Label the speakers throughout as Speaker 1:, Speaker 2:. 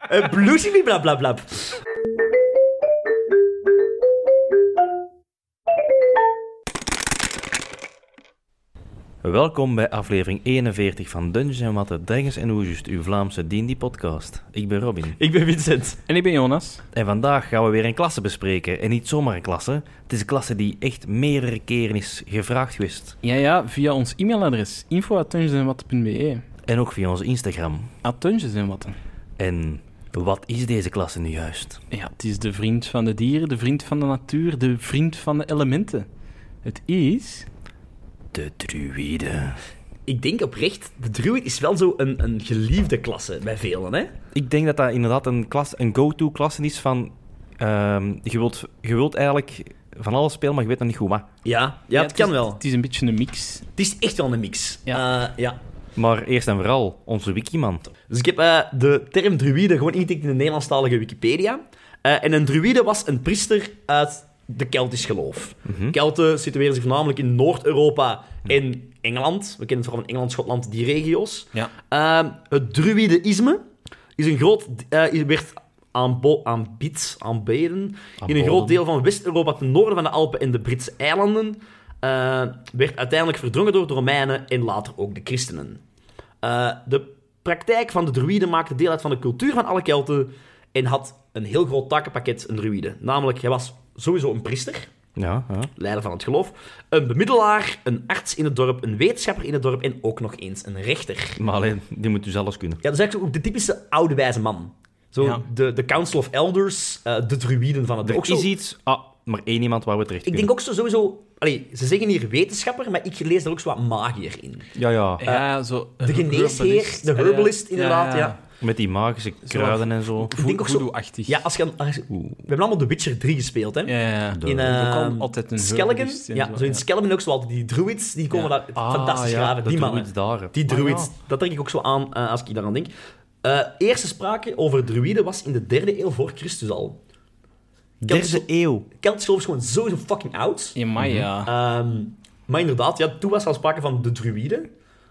Speaker 1: Eh,
Speaker 2: Een bloesie blab blab blab. Welkom bij aflevering 41 van Dungeons en Watten, Dragons en Oejust, uw Vlaamse D&D-podcast. Ik ben Robin.
Speaker 1: Ik ben Vincent.
Speaker 3: En ik ben Jonas.
Speaker 2: En vandaag gaan we weer een klasse bespreken. En niet zomaar een klasse. Het is een klasse die echt meerdere keren is gevraagd geweest.
Speaker 3: Ja, ja, via ons e-mailadres info.tungesenwatten.be
Speaker 2: En ook via onze Instagram.
Speaker 3: Attungesenwatten.
Speaker 2: En wat is deze klasse nu juist?
Speaker 3: Ja, het is de vriend van de dieren, de vriend van de natuur, de vriend van de elementen. Het is...
Speaker 2: De druïde.
Speaker 1: Ik denk oprecht, de druid is wel zo een, een geliefde klasse bij velen, hè?
Speaker 2: Ik denk dat dat inderdaad een, klas, een go-to klasse is van... ehm, je, wilt, je wilt eigenlijk van alles spelen, maar je weet nog niet goed wat.
Speaker 1: Ja, ja, het,
Speaker 3: is-
Speaker 1: kan wel.
Speaker 3: Het is een beetje een mix.
Speaker 1: Het is echt wel een mix.
Speaker 3: Ja.
Speaker 1: Eh, ja.
Speaker 2: Maar eerst en vooral, onze wikiman.
Speaker 1: Dus ik heb eh, de term druïde gewoon ingetikt in de Nederlandstalige Wikipedia. Eh, en een druïde was een priester uit de Keltisch geloof. Kelten situeren zich voornamelijk in Noord-Europa en Engeland. We kennen het vooral van Engeland, Schotland, die regio's.
Speaker 3: Ja.
Speaker 1: Ehm, het druïdeïsme is een groot, eh, werd aanbo- aanbied, aanbeden in een
Speaker 2: Aanboden.
Speaker 1: groot deel van West-Europa ten noorden van de Alpen en de Britse eilanden. eh, werd uiteindelijk verdrongen door de Romeinen en later ook de christenen. Eh, de praktijk van de druïden maakte deel uit van de cultuur van alle Kelten en had een heel groot takenpakket, een druïde. Namelijk, hij was sowieso een priester,
Speaker 2: Ja, ja.
Speaker 1: leider van het geloof, een bemiddelaar, een arts in het dorp, een wetenschapper in het dorp en ook nog eens een rechter.
Speaker 2: Maar alleen, die moet dus alles kunnen.
Speaker 1: Ja, dat is eigenlijk ook de typische oude wijze man. Zo
Speaker 3: Ja.
Speaker 1: de, de Council of Elders, eh, de druïden van het
Speaker 2: Er
Speaker 1: ook zo-
Speaker 2: is iets... Ah, maar één iemand waar we terecht
Speaker 1: Ik denk ook zo sowieso... Allee, ze zeggen hier wetenschapper, maar ik lees daar ook zo wat magier in.
Speaker 2: Ja, ja.
Speaker 3: Eh, Ja, zo...
Speaker 1: De geneesheer, de herbalist inderdaad, ja.
Speaker 2: Met die magische kruiden en zo.
Speaker 1: Ik denk ook zo...
Speaker 3: Voodoo-achtig.
Speaker 1: Ja, als je... aan- als je- we hebben allemaal The Witcher 3 gespeeld, hè.
Speaker 3: Ja, ja, ja.
Speaker 1: In
Speaker 3: Ook al
Speaker 1: ehm,
Speaker 3: altijd een
Speaker 1: Skelligen.
Speaker 3: herbalist en
Speaker 1: Ja,
Speaker 3: zo,
Speaker 1: zo in
Speaker 3: ja.
Speaker 1: Skelligen ook zo altijd. Die druids, die komen
Speaker 3: Ja.
Speaker 1: daar fantastisch graven. Die mannen.
Speaker 2: Daar,
Speaker 3: Ah,
Speaker 1: Die druids, dat denk ik ook zo aan eh, als ik daaraan denk. Eh, eerste sprake over druïden was in de derde eeuw voor Christus al.
Speaker 2: Derde eeuw.
Speaker 1: Keltisch geloof is gewoon sowieso fucking oud.
Speaker 3: In Maya.
Speaker 1: Ehm, maar inderdaad, ja, toen was er al sprake van de druïden.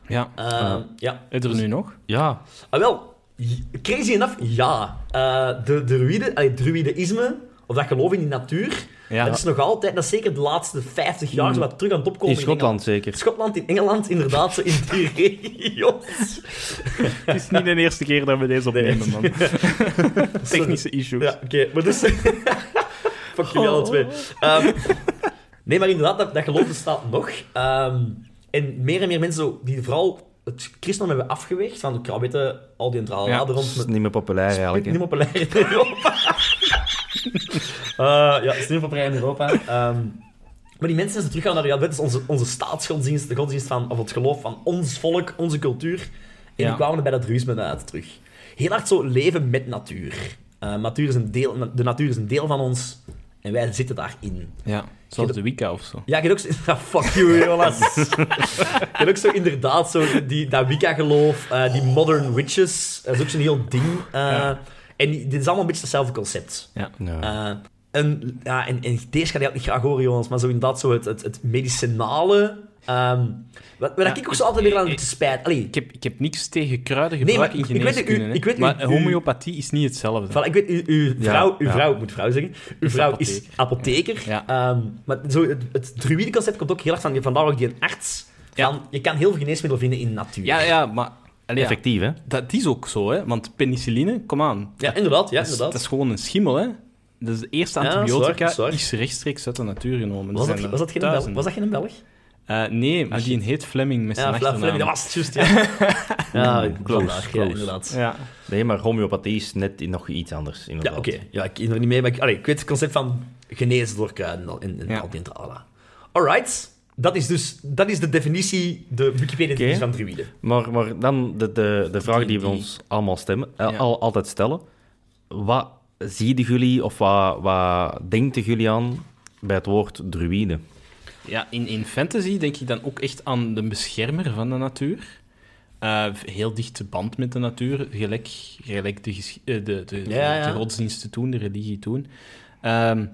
Speaker 3: Ja.
Speaker 1: Ehm,
Speaker 2: Ah.
Speaker 1: Ja.
Speaker 3: Is er nu nog?
Speaker 2: Ja.
Speaker 1: Ah, wel, j- crazy enough, ja. Eh, de druïden, allee, druïdeïsme, of dat geloof in die natuur,
Speaker 3: Ja.
Speaker 1: dat is nog altijd, dat is zeker de laatste 50 jaar zo wat terug aan het opkomen.
Speaker 2: Hmm. In Schotland zeker.
Speaker 1: Engeland. Schotland, in Engeland, inderdaad, zo in die regio's.
Speaker 3: Het is niet de eerste keer dat we deze opnemen, man. Technische issues.
Speaker 1: Ja, oké, maar dus... Fuck jullie alle twee. Ehm, nee, maar inderdaad, dat, dat geloof bestaat nog. Ehm, en meer en meer mensen zo, die vooral het christendom hebben afgeweegd, van de weten, al die entrale
Speaker 3: Ja,
Speaker 1: ja, rond...
Speaker 2: Dat is
Speaker 1: Met,
Speaker 2: niet meer populair eigenlijk. hè.
Speaker 1: niet op een lijn in Europa. Eh, ja, het is niet op een lijn in Europa. Ehm, maar die mensen zijn zo teruggaan naar, ja, dit is onze, onze staatsgodsdienst, de godsdienst van, of het geloof van ons volk, onze cultuur. En
Speaker 3: Ja.
Speaker 1: die kwamen er bij dat druïsme uit terug. Heel hard zo leven met natuur. Eh, natuur is een deel, de natuur is een deel van ons en wij zitten daarin.
Speaker 3: Ja. Zoals de Wicca of zo.
Speaker 1: Ja, je hebt ook zo... Ah, fuck you, Jonas. je hebt ook zo inderdaad zo die, dat Wicca-geloof, eh, die modern witches. Dat is ook zo'n heel ding. eh, En die- dit is allemaal een beetje hetzelfde concept.
Speaker 3: Ja.
Speaker 2: Ja.
Speaker 1: Eh, en, ja, en, en deze ga je ook niet graag horen, Jonas, maar zo inderdaad zo het, het, het medicinale... ehm, wat wat
Speaker 3: Ja,
Speaker 1: ik ook zo altijd weer aan
Speaker 3: ik-
Speaker 1: het spijt. Allee,
Speaker 3: Ik heb, ik heb niks tegen kruidengebruik
Speaker 1: Nee, maar
Speaker 3: in
Speaker 1: ik- ik weet het, u-
Speaker 3: geneeskunde. hè.
Speaker 1: ik weet het,
Speaker 3: maar
Speaker 1: u-
Speaker 3: homeopathie is niet hetzelfde.
Speaker 1: Voilà, ik weet, u- uw
Speaker 2: Ja,
Speaker 1: vrouw, uw
Speaker 2: ja.
Speaker 1: vrouw, ik moet vrouw zeggen, uw
Speaker 3: Is
Speaker 1: vrouw is
Speaker 3: apotheker.
Speaker 1: apotheker.
Speaker 3: Ja.
Speaker 1: Ehm, maar zo, het, het druïdenconcept komt ook heel erg van, vandaar ook die arts.
Speaker 3: Ja.
Speaker 1: Van, je kan heel veel geneesmiddelen vinden in de natuur.
Speaker 3: Ja, ja, maar allee, ja,
Speaker 2: Effectief, hè?
Speaker 3: dat is ook zo, hè? Want penicilline, kom aan.
Speaker 1: Ja, inderdaad. Ja,
Speaker 3: Dat, is,
Speaker 1: inderdaad.
Speaker 3: dat is gewoon een schimmel, hè? Dat is de eerste
Speaker 1: Ja, dat is waar,
Speaker 3: antibiotica
Speaker 1: dat is
Speaker 3: is,
Speaker 1: waar.
Speaker 3: rechtstreeks uit de natuur genomen.
Speaker 1: was,
Speaker 3: Er
Speaker 1: dat,
Speaker 3: zijn
Speaker 1: was, dat
Speaker 3: er
Speaker 1: geen Belg?
Speaker 3: duizenden.
Speaker 1: was dat geen Belg?
Speaker 3: Eh, nee, maar die heet Fleming met zijn
Speaker 1: Ja, Fla-
Speaker 3: achternaam.
Speaker 1: Fleming, dat was het juist. Ja, ja
Speaker 2: close,
Speaker 1: vandaag, ja,
Speaker 2: close.
Speaker 1: inderdaad. Ja,
Speaker 3: Ja.
Speaker 2: Nee, maar homeopathie is net in- nog iets anders. Inderdaad.
Speaker 1: oké. Ja, ik ken er niet mee, maar ik, allee, ik weet het concept van genezen door kruiden al- en, en
Speaker 3: Ja.
Speaker 1: al die tralala. Alright. Dat is dus dat is de definitie, de Wikipedia-definitie
Speaker 2: Oké.
Speaker 1: van druïden.
Speaker 2: Maar, maar dan de, de, de vraag die we
Speaker 3: die-
Speaker 2: ons allemaal stemmen, eh,
Speaker 3: Ja.
Speaker 2: al, altijd stellen. Wat zien jullie of wat, wat denken jullie aan bij het woord druïde?
Speaker 3: Ja, in, in fantasy denk ik dan ook echt aan de beschermer van de natuur. Eh, heel dichte band met de natuur, gelijk, gelijk de, ges- eh, de, de,
Speaker 1: Ja, ja.
Speaker 3: de godsdiensten toen, de religie toen. Ehm,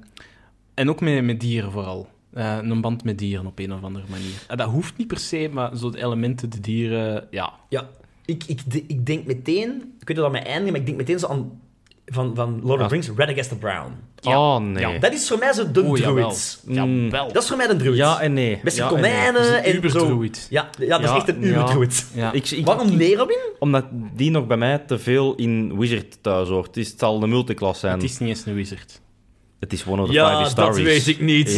Speaker 3: en ook met, met dieren vooral. Eh, een band met dieren op een of andere manier. Eh, dat hoeft niet per se, maar zo de elementen, de dieren, ja.
Speaker 1: Ja, ik, ik, de- ik denk meteen, ik weet niet wat mijn eindigt, maar ik denk meteen zo aan van, van Lord of the Rings, Red Against the Brown.
Speaker 3: Ja.
Speaker 2: Oh, nee.
Speaker 3: Ja,
Speaker 2: Ja,
Speaker 1: Dat is voor mij zo de
Speaker 3: Oeh, Oh, jawel. Mm.
Speaker 1: druids.
Speaker 3: Ja, wel.
Speaker 1: Dat is voor mij een druid.
Speaker 2: en nee.
Speaker 1: Met zijn
Speaker 2: ja, en nee.
Speaker 1: konijnen
Speaker 3: Dat is een
Speaker 1: en zo.
Speaker 3: uberdruid.
Speaker 1: Ja, ja, dat
Speaker 2: Ja,
Speaker 1: is echt een
Speaker 2: ja.
Speaker 1: uberdruid.
Speaker 3: Ja.
Speaker 2: Ik, ik,
Speaker 1: Waarom nee, Robin?
Speaker 2: Omdat die nog bij mij te veel in Wizard thuis hoort. Het, is, het zal een multiclass zijn.
Speaker 3: Het is niet eens een wizard.
Speaker 2: Het is one of the five stories. Eh,
Speaker 1: niet.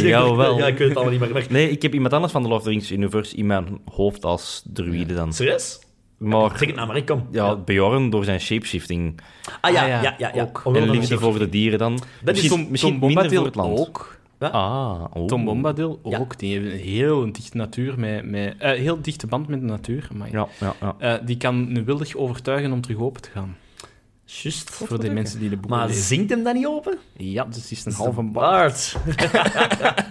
Speaker 2: Jawel.
Speaker 1: Ja, ik weet het allemaal niet meer. Maar...
Speaker 2: Nee, ik heb iemand anders van de Lord of the Rings universe in mijn hoofd als druïde dan.
Speaker 1: Serieus?
Speaker 2: Maar
Speaker 1: Zeg het nou maar, ik kom.
Speaker 2: ja, Bjorn door zijn shapeshifting
Speaker 1: Ah ja,
Speaker 3: Ah,
Speaker 1: ja,
Speaker 3: ja,
Speaker 1: ja. ja,
Speaker 3: ook.
Speaker 1: Omwille
Speaker 2: en
Speaker 1: van
Speaker 2: liefde
Speaker 1: mezelf.
Speaker 2: voor de dieren dan.
Speaker 1: Dat is
Speaker 2: misschien
Speaker 3: Tom,
Speaker 2: misschien
Speaker 3: Tom
Speaker 2: minder
Speaker 3: Bombadil
Speaker 2: voor het land.
Speaker 3: ook.
Speaker 2: Ah, oh.
Speaker 3: Tom Bombadil
Speaker 1: Ja.
Speaker 3: ook. Die heeft een heel dichte natuur met... met eh, heel dichte band met de natuur. Amai.
Speaker 2: Ja, ja, ja.
Speaker 3: Eh, die kan Willig overtuigen om terug open te gaan.
Speaker 1: Juist.
Speaker 3: voor de mensen die de boeken
Speaker 1: Maar
Speaker 3: lezen.
Speaker 1: zingt hem dan niet open?
Speaker 3: Ja, dus het is een halve bar.
Speaker 1: Baard.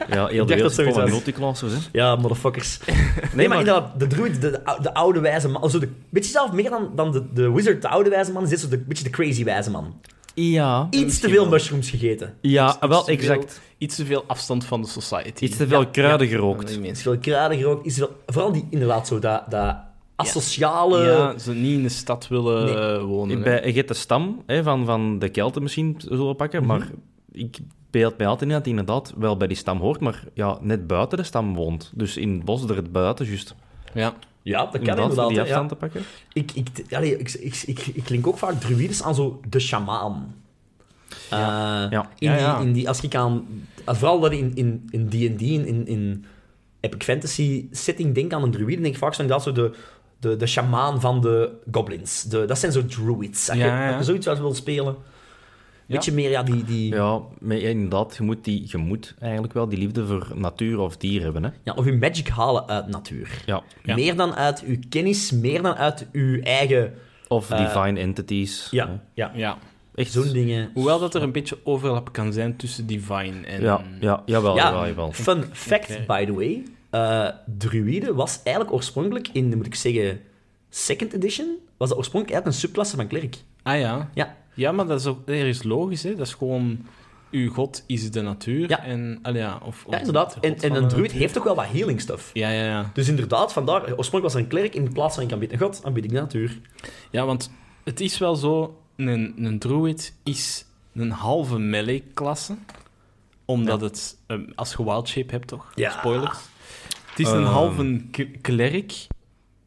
Speaker 2: ja heel
Speaker 1: dat
Speaker 2: de wereld
Speaker 1: zoiets
Speaker 2: is vol met
Speaker 1: was.
Speaker 2: multiclassers, hè.
Speaker 1: Ja, motherfuckers. Nee,
Speaker 2: Nee,
Speaker 1: maar
Speaker 2: maar...
Speaker 1: inderdaad, de druid, de, de, ou- de oude wijze man. Zo de, beetje zelf meer dan, dan de, de wizard, de oude wijze man, is dit zo de, beetje de crazy wijze man.
Speaker 2: Ja.
Speaker 1: Iets te
Speaker 3: Misschien
Speaker 1: veel
Speaker 3: wel.
Speaker 1: mushrooms gegeten.
Speaker 2: Ja,
Speaker 3: Iets
Speaker 2: wel,
Speaker 3: te veel-
Speaker 2: exact.
Speaker 3: Iets te veel afstand van de society.
Speaker 2: Iets te veel kruiden gerookt.
Speaker 3: Van die
Speaker 1: Is
Speaker 3: mensen.
Speaker 1: veel kraden gerookt. Is veel, vooral die, inderdaad, zo dat, dat asociale...
Speaker 3: Ja, ze niet in de stad willen eh, wonen. hè.
Speaker 2: Bij, je hebt de stam hè, van, van de Kelten misschien zullen we pakken, maar
Speaker 1: Mhm.
Speaker 2: ik beeld mij altijd in dat hij inderdaad wel bij die stam hoort, maar ja, net buiten de stam woont. Dus in het bos er buiten, juist.
Speaker 3: Ja.
Speaker 1: Ja, dat kan
Speaker 2: Inderdaad,
Speaker 1: inderdaad.
Speaker 2: van die
Speaker 1: hè, ja.
Speaker 2: afstand te pakken.
Speaker 1: Ik, ik, allee, ik, ik, ik, ik link ook vaak druïdes aan zo de shamaan. Eh,
Speaker 2: Ja.
Speaker 1: In,
Speaker 3: Ja, ja.
Speaker 1: Die, in die, als ik aan, als vooral dat in in in D&D, in, in, in epic fantasy setting denk aan een druïde, denk ik vaak zo inderdaad zo de, de, de shamaan van de goblins. De, dat zijn zo druids. Als, je,
Speaker 3: Ja, ja.
Speaker 1: als je zoiets wel wil spelen, beetje meer ja, die... die ja.
Speaker 2: Ja, maar ja, inderdaad, je moet, die, je moet eigenlijk wel die liefde voor natuur of dier hebben. Hè?
Speaker 1: of je magic halen uit natuur.
Speaker 2: Ja.
Speaker 3: Ja.
Speaker 1: Meer dan uit uw kennis, meer dan uit uw eigen...
Speaker 2: Of
Speaker 1: Eh,
Speaker 2: divine entities. hè.
Speaker 1: Ja, ja.
Speaker 3: ja.
Speaker 2: Echt
Speaker 1: zo'n dingen.
Speaker 3: Hoewel dat er een beetje overlap kan zijn tussen Divine en...
Speaker 2: Ja, ja, jawel,
Speaker 1: Ja,
Speaker 2: jawel, jawel.
Speaker 1: fun fact,
Speaker 3: Oké.
Speaker 1: by the way. eh druïde was eigenlijk oorspronkelijk in, moet ik zeggen, second edition, was dat oorspronkelijk eigenlijk een subklasse van klerk.
Speaker 3: Ah ja.
Speaker 1: Ja.
Speaker 3: Ja, maar dat is ook dat is logisch, hè. Dat is gewoon... Uw god is de natuur.
Speaker 1: Ja.
Speaker 3: En, allee, ja, of, of
Speaker 1: Ja,
Speaker 3: de
Speaker 1: inderdaad.
Speaker 3: god
Speaker 1: En, en
Speaker 3: van
Speaker 1: een
Speaker 3: de
Speaker 1: druid
Speaker 3: natuur.
Speaker 1: heeft toch wel wat healing stuff.
Speaker 3: Ja, ja, ja.
Speaker 1: Dus inderdaad, vandaar, oorspronkelijk was er een klerk, in plaats van ik aanbid een god, aanbid ik de natuur.
Speaker 3: Ja, want het is wel zo, een, een druid is een halve melee-klasse. Omdat het, ehm, als je wild shape hebt toch?
Speaker 1: Ja.
Speaker 3: Spoilers. Het is een
Speaker 2: Ehm.
Speaker 3: halve k- klerk,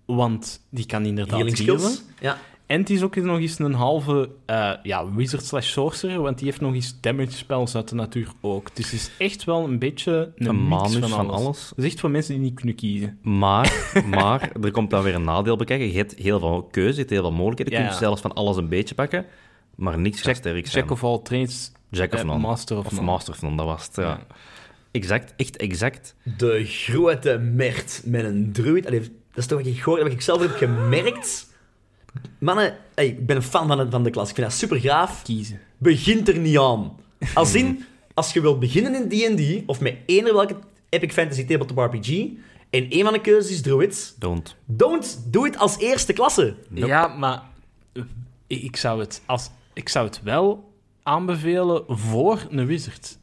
Speaker 3: want die kan inderdaad
Speaker 1: Healing
Speaker 3: healen.
Speaker 1: skills. Ja.
Speaker 3: En het is ook nog eens een halve eh, ja, wizard slash sorcerer, want die heeft nog eens damage spells uit de natuur ook. Dus het is echt wel een beetje een,
Speaker 2: Een
Speaker 3: mix
Speaker 2: manus
Speaker 3: van
Speaker 2: van
Speaker 3: alles.
Speaker 2: alles.
Speaker 3: Het is echt voor mensen die niet kunnen kiezen.
Speaker 2: Maar, maar, er komt dan weer een nadeel bekijken. Je hebt heel veel keuze, je hebt heel veel mogelijkheden. Je
Speaker 3: Ja,
Speaker 2: kunt
Speaker 3: ja.
Speaker 2: zelfs van alles een beetje pakken, maar niks gaat
Speaker 3: Jack,
Speaker 2: sterk zijn.
Speaker 3: Jack of all trades,
Speaker 2: Jack of
Speaker 3: eh,
Speaker 2: none.
Speaker 3: master of,
Speaker 2: Of
Speaker 3: none.
Speaker 2: Master of None, dat was het. Ja.
Speaker 3: Ja.
Speaker 2: Exact, echt exact.
Speaker 1: De grote merd met een druid. Allee, dat is toch wat ik gehoord heb, wat ik zelf heb gemerkt. Mannen, hey, ik ben een fan van de, van de klas. Ik vind dat super gaaf.
Speaker 3: Kiezen.
Speaker 1: begint er niet aan. Als in, als je wilt beginnen in D&D, of met eender welke epic fantasy tabletop RPG, en een van de keuzes is druids,
Speaker 2: Don't.
Speaker 1: don't do it als eerste klasse.
Speaker 2: Nope.
Speaker 3: Ja, maar eh, ik zou, het als, ik zou het wel aanbevelen voor een wizard.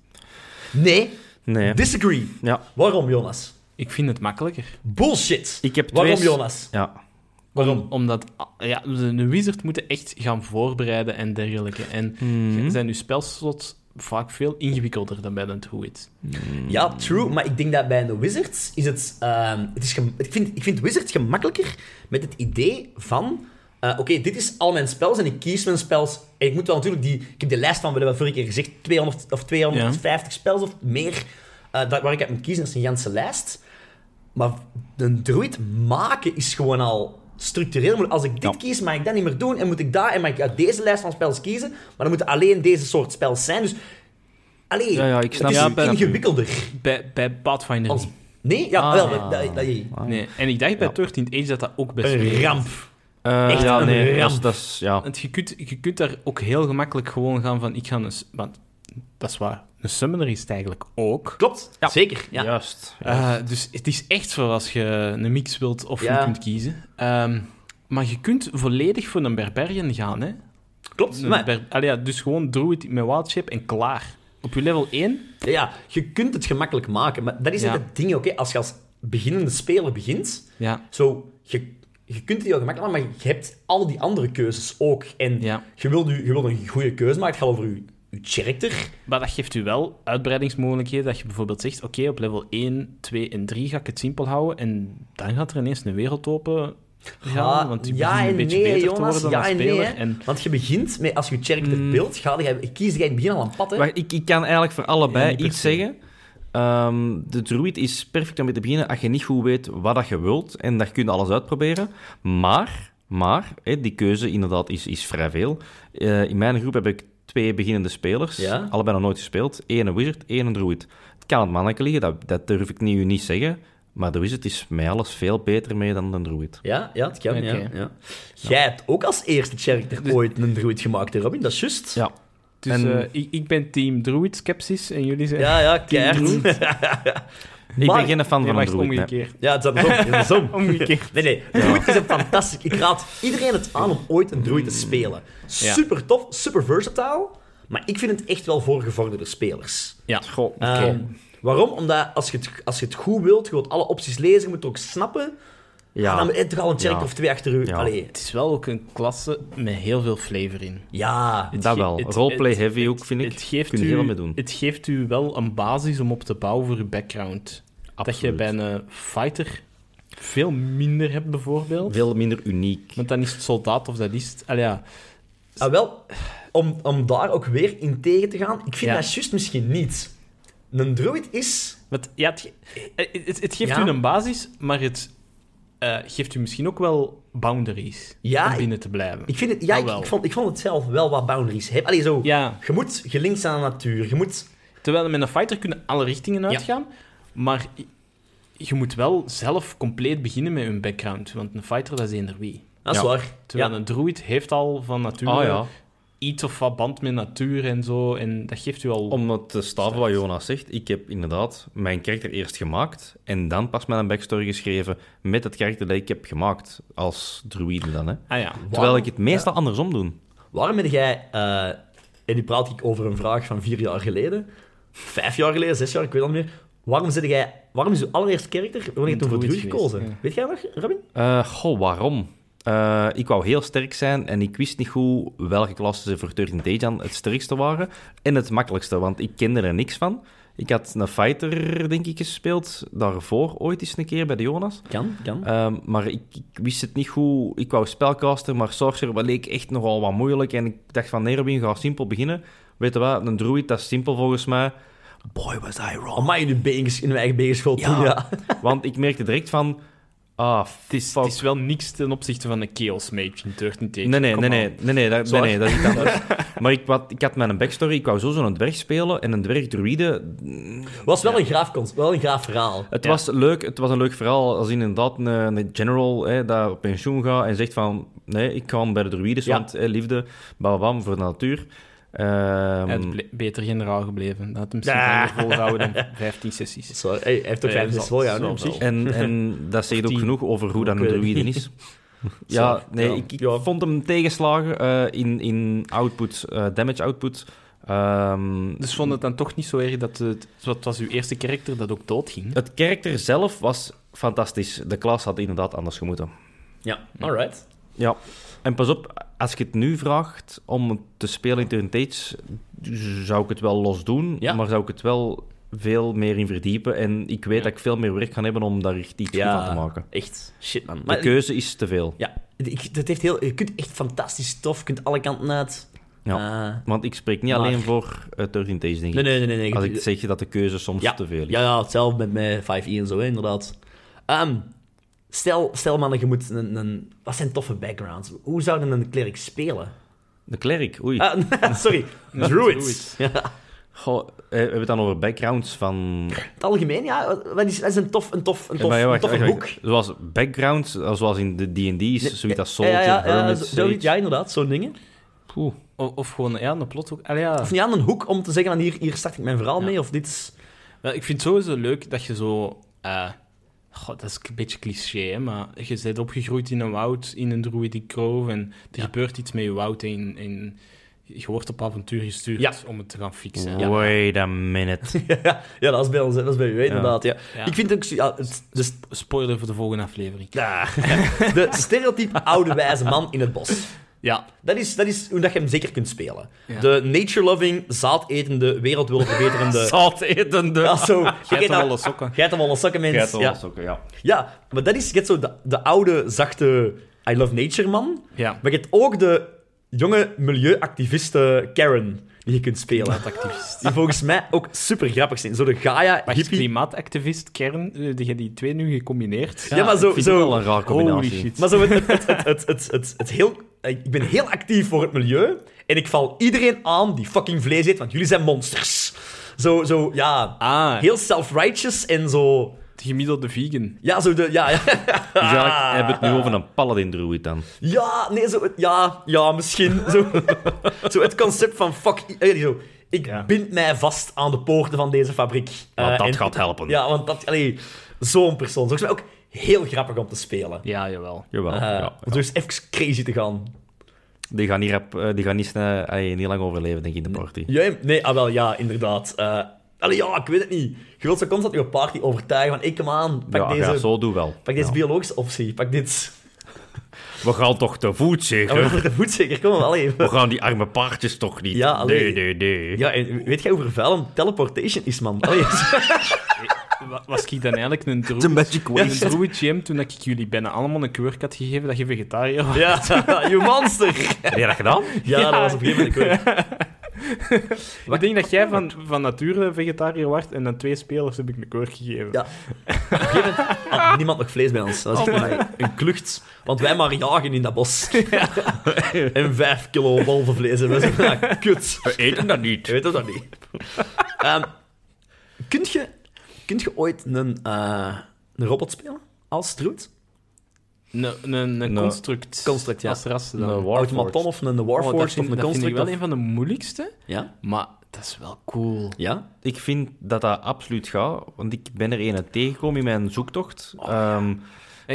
Speaker 1: Nee,
Speaker 2: Nee.
Speaker 1: disagree.
Speaker 2: Ja,
Speaker 1: Waarom, Jonas?
Speaker 3: Ik vind het makkelijker.
Speaker 1: Bullshit.
Speaker 2: ik heb
Speaker 1: Waarom,
Speaker 2: twee...
Speaker 1: Jonas?
Speaker 2: Ja.
Speaker 1: Waarom?
Speaker 3: Om- omdat ah, ja, de de wizard moeten echt gaan voorbereiden en dergelijke. En
Speaker 2: Mhm.
Speaker 3: zijn uw spelslots vaak veel ingewikkelder dan bij een druid.
Speaker 2: Hm.
Speaker 1: Ja, true, maar ik denk dat bij de Wizards is het... ehm, het is gem- ik, vind, ik vind Wizards gemakkelijker met het idee van... eh, Oké, dit is al mijn spels en ik kies mijn spels. En ik moet wel natuurlijk die... Ik heb de lijst van, we hebben vorige keer gezegd, 200 of 250 spels of meer. eh, dat, waar ik uit moet kiezen, dat is een ganse lijst. Maar een druid maken is gewoon al structureel. Maar Als ik dit
Speaker 2: Ja.
Speaker 1: kies, mag ik dat niet meer doen. En moet ik daar en mag ik uit deze lijst van spels kiezen. Maar dan moeten alleen deze soort spels zijn. Dus... Allee,
Speaker 2: Ja, ja, ik snap
Speaker 1: het is
Speaker 3: je. Ja, bij-
Speaker 1: ingewikkelder.
Speaker 3: Bij, bij Pathfinder
Speaker 1: Als-
Speaker 3: niet.
Speaker 1: Nee, ja,
Speaker 2: Ah.
Speaker 1: wel. Dat, dat, dat-
Speaker 3: Nee. En ik dacht bij 13 Age dat dat ook best
Speaker 1: een
Speaker 3: werkt.
Speaker 1: ramp.
Speaker 2: Eh,
Speaker 1: Echt
Speaker 2: ja,
Speaker 1: een
Speaker 2: nee, dat is,
Speaker 1: ramp.
Speaker 2: dat is- ja.
Speaker 3: Want je kunt, je kunt daar ook heel gemakkelijk gewoon gaan van... Ik ga een, s- want dat is waar. Een summoner is het eigenlijk ook.
Speaker 1: Klopt, zeker. Ja.
Speaker 2: Juist.
Speaker 3: Eh, dus het is echt voor als je een mix wilt of
Speaker 1: Ja.
Speaker 3: je kunt kiezen. Ehm, maar je kunt volledig voor een barbarian gaan. Hè?
Speaker 1: Klopt.
Speaker 3: Een
Speaker 1: Maar,
Speaker 3: ber- allee, ja, dus gewoon druid met wildshape en klaar. Op je level 1,
Speaker 1: ja, je kunt het gemakkelijk maken, maar dat is
Speaker 3: Ja.
Speaker 1: net het ding, oké? Als je als beginnende speler begint,
Speaker 3: ja,
Speaker 1: zo, je, je kunt die heel gemakkelijk maken, maar je hebt al die andere keuzes ook. En
Speaker 3: Ja.
Speaker 1: je, wilt, je je wilt een goede keuze maken, het gaat over je, je character.
Speaker 3: Maar dat geeft u wel uitbreidingsmogelijkheden. Dat je bijvoorbeeld zegt: Oké, op level 1, 2 en 3 ga ik het simpel houden. En dan gaat er ineens een wereld open. gaan,
Speaker 1: Ah,
Speaker 3: want je
Speaker 1: ja
Speaker 3: begint
Speaker 1: en
Speaker 3: een beetje
Speaker 1: nee,
Speaker 3: beter
Speaker 1: Jonas,
Speaker 3: te worden
Speaker 1: ja
Speaker 3: als
Speaker 1: en nee,
Speaker 3: speler.
Speaker 1: hè.
Speaker 3: en
Speaker 1: Want je begint met, als je character
Speaker 2: Mm.
Speaker 1: built, ga je, kies je in het begin al een pad. Hè?
Speaker 2: Wacht, ik, ik kan eigenlijk voor allebei
Speaker 3: Ja, niet per
Speaker 2: iets
Speaker 3: se.
Speaker 2: zeggen. Ehm, de druid is perfect om mee te beginnen als je niet goed weet wat dat je wilt. En daar kun je alles uitproberen. Maar, maar hè, die keuze inderdaad is, is vrij veel. Eh, in mijn groep heb ik twee beginnende spelers.
Speaker 1: Ja.
Speaker 2: Allebei nog nooit gespeeld. Eén een wizard, één een druid. Het kan aan het manneke liggen, dat, dat durf ik nu niet zeggen. Maar de wizard is mij alles veel beter mee dan de druid.
Speaker 1: Ja, ja, het kan, ja,
Speaker 3: Oké.
Speaker 2: Nou.
Speaker 1: ja. Jij hebt ook als eerste character ooit een druid gemaakt, hè, Robin? Dat is juist.
Speaker 2: Dus- Ja.
Speaker 3: dus
Speaker 2: En-
Speaker 3: eh, ik, ik ben team Druid Skepsis en jullie zijn.
Speaker 1: ja, ja, keihard.
Speaker 2: Ik
Speaker 1: Maar-
Speaker 2: ben geen fan
Speaker 3: nee,
Speaker 2: van een
Speaker 3: wacht,
Speaker 2: druid. nee.
Speaker 3: omgekeerd.
Speaker 1: Ja, het is andersom. het is andersom.
Speaker 3: Omgekeerd.
Speaker 1: Nee, nee. Druid is een fantastisch... Ik raad iedereen het aan om ooit een druid te
Speaker 2: Mm.
Speaker 1: spelen. Super tof, super versatile. Maar ik vind het echt wel voor gevorderde spelers.
Speaker 3: Ja,
Speaker 2: Goh, oké.
Speaker 1: Ehm, waarom? Omdat als je, het, als je het goed wilt, je wilt alle opties lezen, je moet het ook snappen.
Speaker 2: ja.
Speaker 1: Dan heb je al een check
Speaker 2: Ja.
Speaker 1: of twee achter u.
Speaker 2: Ja.
Speaker 1: Allee,
Speaker 3: Het is wel ook een klasse met heel veel flavor in.
Speaker 1: ja.
Speaker 2: Dat
Speaker 3: ge-
Speaker 2: wel.
Speaker 3: het-
Speaker 2: Roleplay
Speaker 3: het-
Speaker 2: heavy ook, vind ik.
Speaker 3: Het geeft,
Speaker 2: Kun je
Speaker 3: u,
Speaker 2: heel veel mee doen.
Speaker 3: het geeft u wel een basis om op te bouwen voor uw background. Dat je
Speaker 2: Absoluut.
Speaker 3: bij een eh, fighter veel minder hebt, bijvoorbeeld.
Speaker 2: Veel minder uniek.
Speaker 3: Want dan is het soldaat of dat is het. Allee, ja.
Speaker 1: Ah, wel, om, om daar ook weer in tegen te gaan, ik vind
Speaker 3: Ja.
Speaker 1: dat juist misschien niet. Een druid is...
Speaker 3: Want, ja, het, ge- eh, het, het geeft
Speaker 1: Ja.
Speaker 3: u een basis, maar het eh, geeft u misschien ook wel boundaries
Speaker 1: Ja,
Speaker 3: om
Speaker 1: ik-
Speaker 3: binnen te blijven.
Speaker 1: Ik vind het... Ja,
Speaker 3: Ah,
Speaker 1: ik,
Speaker 3: wel.
Speaker 1: ik vond, ik vond het zelf wel wat boundaries hebben. Allee, zo...
Speaker 3: Ja,
Speaker 1: Je moet gelinkt zijn aan de natuur. Je moet...
Speaker 3: terwijl met een fighter kunnen alle richtingen uitgaan, maar i- je moet wel zelf compleet beginnen met hun background, want een fighter dat is eender wie.
Speaker 1: Dat is
Speaker 2: Ja.
Speaker 1: waar.
Speaker 3: Terwijl
Speaker 1: Ja.
Speaker 3: een druid heeft al van nature
Speaker 2: Ah ja.
Speaker 3: iets of wat band met natuur en zo, en dat geeft u al...
Speaker 2: Om het te staven wat Jonas zegt, ik heb inderdaad mijn karakter eerst gemaakt en dan pas mijn backstory geschreven met het karakter dat ik heb gemaakt als druïde dan. Hè.
Speaker 3: Ah ja.
Speaker 2: Terwijl ik het meestal andersom doe.
Speaker 1: Waarom ben jij... eh, en nu praat ik over een vraag van vier jaar geleden. Vijf jaar geleden, zes jaar, ik weet het niet meer. Waarom zit jij... Waarom is je allereerste karakter... Wanneer je toen voor
Speaker 3: druid
Speaker 1: druid
Speaker 3: geweest,
Speaker 1: gekozen?
Speaker 3: ja.
Speaker 1: Weet jij nog, Robin?
Speaker 2: Eh, goh, waarom? Eh, ik wou heel sterk zijn en ik wist niet goed welke klassen ze voor 13 Dejan het sterkste waren en het makkelijkste, want ik kende er niks van. Ik had een fighter, denk ik, gespeeld daarvoor ooit eens een keer bij de Jonas.
Speaker 1: Kan, kan.
Speaker 2: Ehm, maar ik, ik wist het niet goed. Ik wou spelcaster, maar sorcerer wat leek echt nogal wat moeilijk. En ik dacht van, nee Robin, ga simpel beginnen. Weet je wat, een druid, dat is simpel volgens mij. Boy, was I wrong.
Speaker 1: Amai, in uw, been- in uw eigen beenschool
Speaker 2: Ja.
Speaker 1: toen, ja.
Speaker 2: Want ik merkte direct van... Ah,
Speaker 3: Het is,
Speaker 2: fuck.
Speaker 3: het is wel niks ten opzichte van een Chaos Mage in 13 Take.
Speaker 2: Nee, nee,
Speaker 3: Come
Speaker 2: nee,
Speaker 3: on.
Speaker 2: nee, nee, nee, dat, nee,
Speaker 1: Zwaar.
Speaker 2: nee, dat is iets anders. maar ik, wat, ik had mijn backstory, ik wou sowieso een dwerg spelen. En een dwerg-druïde,
Speaker 1: was wel een graaf cons- wel een graaf verhaal.
Speaker 2: Het
Speaker 3: Ja.
Speaker 2: was leuk, het was een leuk verhaal als inderdaad een, een general hè, daar op pensioen gaat en zegt van nee, ik kan bij de druïdes,
Speaker 1: Ja.
Speaker 2: want hè, liefde, bam, bam, bam, voor de natuur. Ehm,
Speaker 3: Hij had ble- beter generaal gebleven. Dat had hem misschien
Speaker 1: Ja.
Speaker 3: langer volgehouden dan 15 sessies.
Speaker 1: Sorry, hey, hij heeft ook
Speaker 3: Nee,
Speaker 1: vijf
Speaker 3: dat
Speaker 1: zes voljaar nu
Speaker 3: zal
Speaker 1: op
Speaker 3: wel.
Speaker 1: zich.
Speaker 2: en, en dat zegt ook
Speaker 3: Tien.
Speaker 2: genoeg over hoe dan een
Speaker 1: Ik weet het
Speaker 2: druïde is. ja, nee,
Speaker 1: Ja.
Speaker 2: ik, ik
Speaker 1: Ja.
Speaker 2: vond hem tegenslagen eh, in, in output, eh, damage output. Ehm,
Speaker 3: Dus vond het dan toch niet zo erg dat het... Het was uw eerste karakter dat ook doodging.
Speaker 2: het karakter zelf was fantastisch. De klas had inderdaad anders gemoeten.
Speaker 1: Ja, alright.
Speaker 2: Ja, en pas op, als je het nu vraagt om het te spelen in Turn Tates, zou ik het wel los doen,
Speaker 1: Ja.
Speaker 2: maar zou ik het wel veel meer in verdiepen. En ik weet dat ik veel meer werk ga hebben om daar echt iets goed van te maken.
Speaker 1: echt. Shit, man.
Speaker 2: de
Speaker 1: Maar,
Speaker 2: keuze is te veel.
Speaker 1: ja, ik, dat heeft heel, je kunt echt fantastisch stof, je kunt alle kanten uit.
Speaker 2: Ja.
Speaker 1: Eh,
Speaker 2: Want ik spreek niet
Speaker 1: Maar-
Speaker 2: alleen voor uh, Turn Tates, denk
Speaker 1: nee,
Speaker 2: ik.
Speaker 1: nee, nee. nee, nee.
Speaker 2: Als ik zeg dat de keuze soms
Speaker 1: ja,
Speaker 2: te veel is.
Speaker 1: ja, ja, hetzelfde met mijn 5e en zo, hè, inderdaad. Ehm, stel, stel mannen, je moet een, een... Wat zijn toffe backgrounds? Hoe zouden een klerk spelen?
Speaker 2: De klerk, oei.
Speaker 1: Ah, sorry, druids.
Speaker 3: druids.
Speaker 1: Ja.
Speaker 2: Goh, eh, we hebben het dan over backgrounds van...
Speaker 1: Het algemeen, ja. Wat is, dat is een tof, een tof, een tof,
Speaker 2: Maar ja,
Speaker 1: een
Speaker 2: wacht,
Speaker 1: toffe
Speaker 2: wacht,
Speaker 1: boek.
Speaker 2: wacht. Zoals backgrounds, eh, zoals in de D&D's, zoiets als Soldier,
Speaker 1: ja, ja, ja,
Speaker 2: Hermit,
Speaker 1: zo-
Speaker 2: Sage.
Speaker 1: zoiets, ja, inderdaad, zo'n dingen.
Speaker 2: Poeh.
Speaker 3: O- of gewoon ja, een plot ook. Allee, ja.
Speaker 1: Of niet aan een hoek om te zeggen, van hier, hier start ik mijn verhaal
Speaker 3: Ja.
Speaker 1: mee, of dit is...
Speaker 3: Wel, ik vind het sowieso leuk dat je zo... eh, goh, dat is een beetje cliché, hè, maar je bent opgegroeid in een woud, in een druidic grove, en er gebeurt iets met je woud en, en je wordt op avontuur gestuurd
Speaker 1: Ja.
Speaker 3: om het te gaan fixen.
Speaker 1: Ja.
Speaker 2: Wait a minute.
Speaker 1: ja, dat is bij ons, hè. dat is bij u, hè, inderdaad. Ja.
Speaker 3: Ja.
Speaker 1: Ik vind ook... zo- Ja, het, de, st-
Speaker 3: Spoiler voor de volgende aflevering.
Speaker 1: ah, de stereotype oude wijze man in het bos.
Speaker 3: Ja.
Speaker 1: Dat is, dat is hoe dat je hem zeker kunt spelen.
Speaker 3: Ja.
Speaker 1: De nature-loving, zaadetende, wereld wil verbeterende...
Speaker 2: Zaatetende.
Speaker 1: Ja, zo. Je
Speaker 3: Jij
Speaker 1: kent
Speaker 3: hebt
Speaker 1: dat-
Speaker 3: alle sokken.
Speaker 1: Geitenwolle sokkenmens. ja.
Speaker 2: sokken, ja.
Speaker 1: ja, maar dat is je hebt zo de, de oude, zachte I love nature man.
Speaker 3: Ja.
Speaker 1: Maar je hebt ook de jonge milieuactiviste Karen die je kunt spelen.
Speaker 3: Klimaatactivist.
Speaker 1: Die volgens mij ook super grappig zijn. Zo de Gaia
Speaker 3: Wacht,
Speaker 1: hippie.
Speaker 3: klimaatactivist, kern, eh, die, die twee nu gecombineerd.
Speaker 1: Ja, maar zo,
Speaker 2: vind
Speaker 1: zo,
Speaker 2: het wel een raar combinatie.
Speaker 3: Holy shit.
Speaker 1: Maar zo het, het, het, het, het, het, het, het heel, ik ben heel actief voor het milieu. En ik val iedereen aan die fucking vlees eet, want jullie zijn monsters. Zo, zo ja.
Speaker 3: Ah,
Speaker 1: Heel self-righteous en zo.
Speaker 3: de gemiddelde vegan.
Speaker 1: Ja, zo de. Ja, ja.
Speaker 2: Dus eigenlijk
Speaker 1: Ah.
Speaker 2: hebben we het nu over een paladin-druid dan.
Speaker 1: Eh, Ja, nee, zo, het- ja, ja, misschien. Zo, zo het concept van fuck. i- eh, zo, ik
Speaker 2: Ja.
Speaker 1: bind mij vast aan de poorten van deze fabriek.
Speaker 2: Want
Speaker 1: Eh,
Speaker 2: dat
Speaker 1: en-
Speaker 2: gaat helpen.
Speaker 1: Ja, want dat, allee, zo'n persoon. Volgens mij ook heel grappig om te spelen.
Speaker 3: Ja, jawel.
Speaker 2: Jawel,
Speaker 1: Eh,
Speaker 2: ja.
Speaker 1: om Dus even crazy te gaan.
Speaker 2: Die gaan, niet rap- eh, die gaan niet, snel, eh, niet lang overleven, denk ik, in de party.
Speaker 1: Jij, nee, ah wel, ja, inderdaad. Eh allee, ja, ik weet het niet. Je wilt zo constant je party overtuigen van, ik kom aan, pak
Speaker 2: Ja,
Speaker 1: deze,
Speaker 2: ja, zo doe wel.
Speaker 1: pak deze
Speaker 2: Ja.
Speaker 1: biologische optie, pak dit.
Speaker 2: We gaan toch te voet,
Speaker 1: Ja, maar
Speaker 2: zeker?
Speaker 1: voor de voet zeker, kom maar, allee.
Speaker 2: We gaan die arme paardjes toch niet?
Speaker 1: Ja,
Speaker 2: nee,
Speaker 1: allee.
Speaker 2: nee, nee.
Speaker 1: Ja, en weet jij hoe vervuilend teleportation is, man? Allee,
Speaker 3: Wa- Was ik dan eigenlijk een
Speaker 2: The
Speaker 3: druid?
Speaker 2: magic
Speaker 3: Een druid gym toen ik jullie bijna allemaal een quirk had gegeven dat je vegetariër was.
Speaker 1: Ja, you monster!
Speaker 2: Heb jij dat gedaan?
Speaker 1: Ja, dat was op een gegeven moment ook.
Speaker 3: Ik denk dat jij van, van nature vegetariër werd en aan twee spelers heb ik een quirk gegeven.
Speaker 1: Ja. Op een gegeven moment had niemand nog vlees bij ons. Dat is echt een- een klucht. Want wij maar jagen in dat bos. En vijf kilo wolvenvlees hebben we. Ja, kut.
Speaker 2: We eten dat
Speaker 1: Je
Speaker 2: niet.
Speaker 1: weet dat niet. Ehm kunt, je, kunt je ooit een, eh, een robot spelen? Als druid?
Speaker 3: Een, een, een
Speaker 2: Nou,
Speaker 3: construct.
Speaker 1: construct, ja.
Speaker 3: Als ras dan.
Speaker 2: Een warforged.
Speaker 1: Automaton of een
Speaker 3: Oh,
Speaker 1: Warforged
Speaker 3: dat vind,
Speaker 1: of een
Speaker 3: dat vind ik
Speaker 1: Construct?
Speaker 3: wel
Speaker 1: of-
Speaker 3: een van de moeilijkste,
Speaker 1: Ja?
Speaker 3: maar dat is wel cool.
Speaker 1: Ja?
Speaker 2: Ik vind dat dat absoluut gaat, want ik ben er een tegengekomen in mijn zoektocht. Ehm,
Speaker 3: Ik,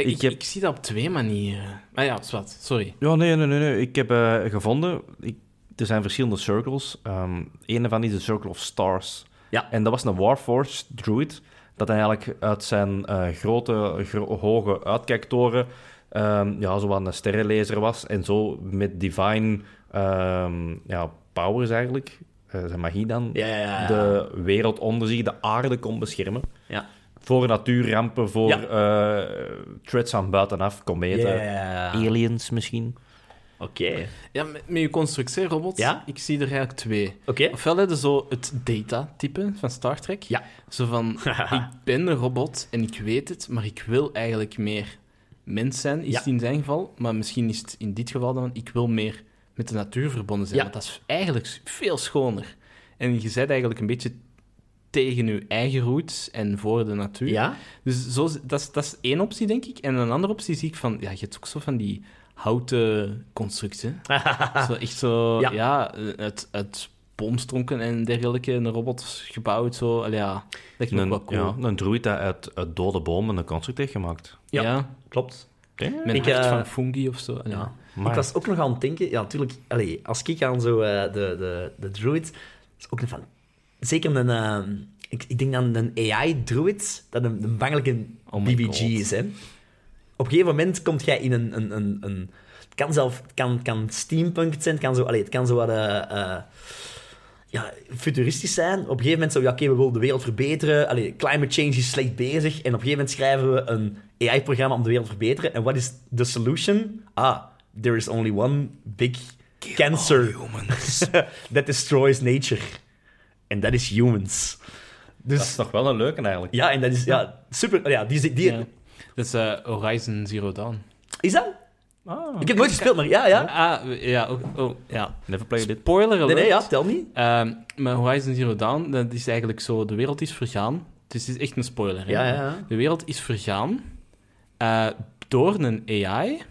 Speaker 2: Ik
Speaker 3: Eh, ik,
Speaker 2: heb-
Speaker 3: ik zie dat op twee manieren. Maar ja, zwart, sorry.
Speaker 2: Ja, nee, nee, nee. nee. Ik heb eh, gevonden, ik, er zijn verschillende circles. Ehm een daarvan is de Circle of Stars.
Speaker 1: Ja.
Speaker 2: En dat was een Warforged druid, dat hij eigenlijk uit zijn eh, grote, gro- hoge uitkijktoren ehm ja, zo wat een sterrenlezer was. En zo met divine ehm, ja, powers eigenlijk, eh, zijn magie dan,
Speaker 1: Ja, ja, ja.
Speaker 2: de wereld onder zich, de aarde kon beschermen.
Speaker 1: Ja.
Speaker 2: Voor natuurrampen, voor
Speaker 1: Ja.
Speaker 2: eh, threats aan buitenaf,
Speaker 1: Ja,
Speaker 2: kometen,
Speaker 3: eh,
Speaker 1: ja, ja. Oké.
Speaker 2: aliens misschien.
Speaker 3: Ja, met, met je construct, hè, robot,
Speaker 1: Ja?
Speaker 3: ik zie er eigenlijk twee.
Speaker 1: Oké.
Speaker 3: Ofwel hebben ze zo het data-type van Star Trek.
Speaker 1: Ja.
Speaker 3: Zo van, ik ben een robot en ik weet het, maar ik wil eigenlijk meer mens zijn, is
Speaker 1: Ja.
Speaker 3: het in zijn geval. Maar misschien is het in dit geval dan, ik wil meer met de natuur verbonden zijn.
Speaker 1: Ja.
Speaker 3: Want dat is eigenlijk veel schoner. En je zet eigenlijk een beetje tegen je eigen roots en voor de natuur.
Speaker 1: Ja?
Speaker 3: Dus zo, dat, is, dat is één optie, denk ik. En een andere optie zie ik van... Ja, je hebt ook zo van die houten constructies. hè. zo, echt zo...
Speaker 1: Ah. Ja.
Speaker 3: Ja, uit, uit boomstronken en dergelijke. Een robot gebouwd, zo. Allee, ja, dat lijkt me ook wel
Speaker 2: Een,
Speaker 3: cool.
Speaker 2: ja, een druid dat uit, uit dode bomen een construct heeft gemaakt.
Speaker 3: Ja,
Speaker 1: Ja. Klopt.
Speaker 3: met
Speaker 1: Ik,
Speaker 3: een hart
Speaker 1: eh,
Speaker 3: van fungi of zo. Allee.
Speaker 1: Ja.
Speaker 3: Ja.
Speaker 2: Maar-
Speaker 1: Ik was ook nog aan het denken, ja, natuurlijk, allee, als ik aan zo eh, de, de, de druid, is ook een van, zeker een, ehm, ik, ik denk aan een AI-druid, dat een, een bangelijke
Speaker 3: Oh my
Speaker 1: BBG
Speaker 3: God.
Speaker 1: is, hè. Op een gegeven moment komt jij in een, een, een, een het kan zelf, het kan, kan steampunk zijn, het kan zo, allee, het kan zo wat, eh, eh, ja, futuristisch zijn. Op een gegeven moment zo, ja, oké, we willen de wereld verbeteren. Allee, climate change is slecht bezig. En op een gegeven moment schrijven we een AI-programma om de wereld te verbeteren. En wat is de solution? Ah, there is only one big cancer that destroys nature. En dat is humans.
Speaker 2: Dat is
Speaker 1: Dus
Speaker 2: toch wel een leuke eigenlijk.
Speaker 1: ja, en dat is ja, super. Ja, die, die,
Speaker 3: Ja. Dat is eh, Horizon Zero Dawn.
Speaker 1: Is dat? Ik heb nooit gespeeld, maar ja, ja.
Speaker 3: Ah, ja, ook, oh, ja.
Speaker 2: Never played it.
Speaker 3: Spoiler alert.
Speaker 1: Nee, nee, ja, tel niet.
Speaker 3: Ehm, maar Horizon Zero Dawn, dat is eigenlijk zo... De wereld is vergaan. Dus het is echt een spoiler. hè.
Speaker 1: Ja, ja, ja.
Speaker 3: De wereld is vergaan eh, door een AI,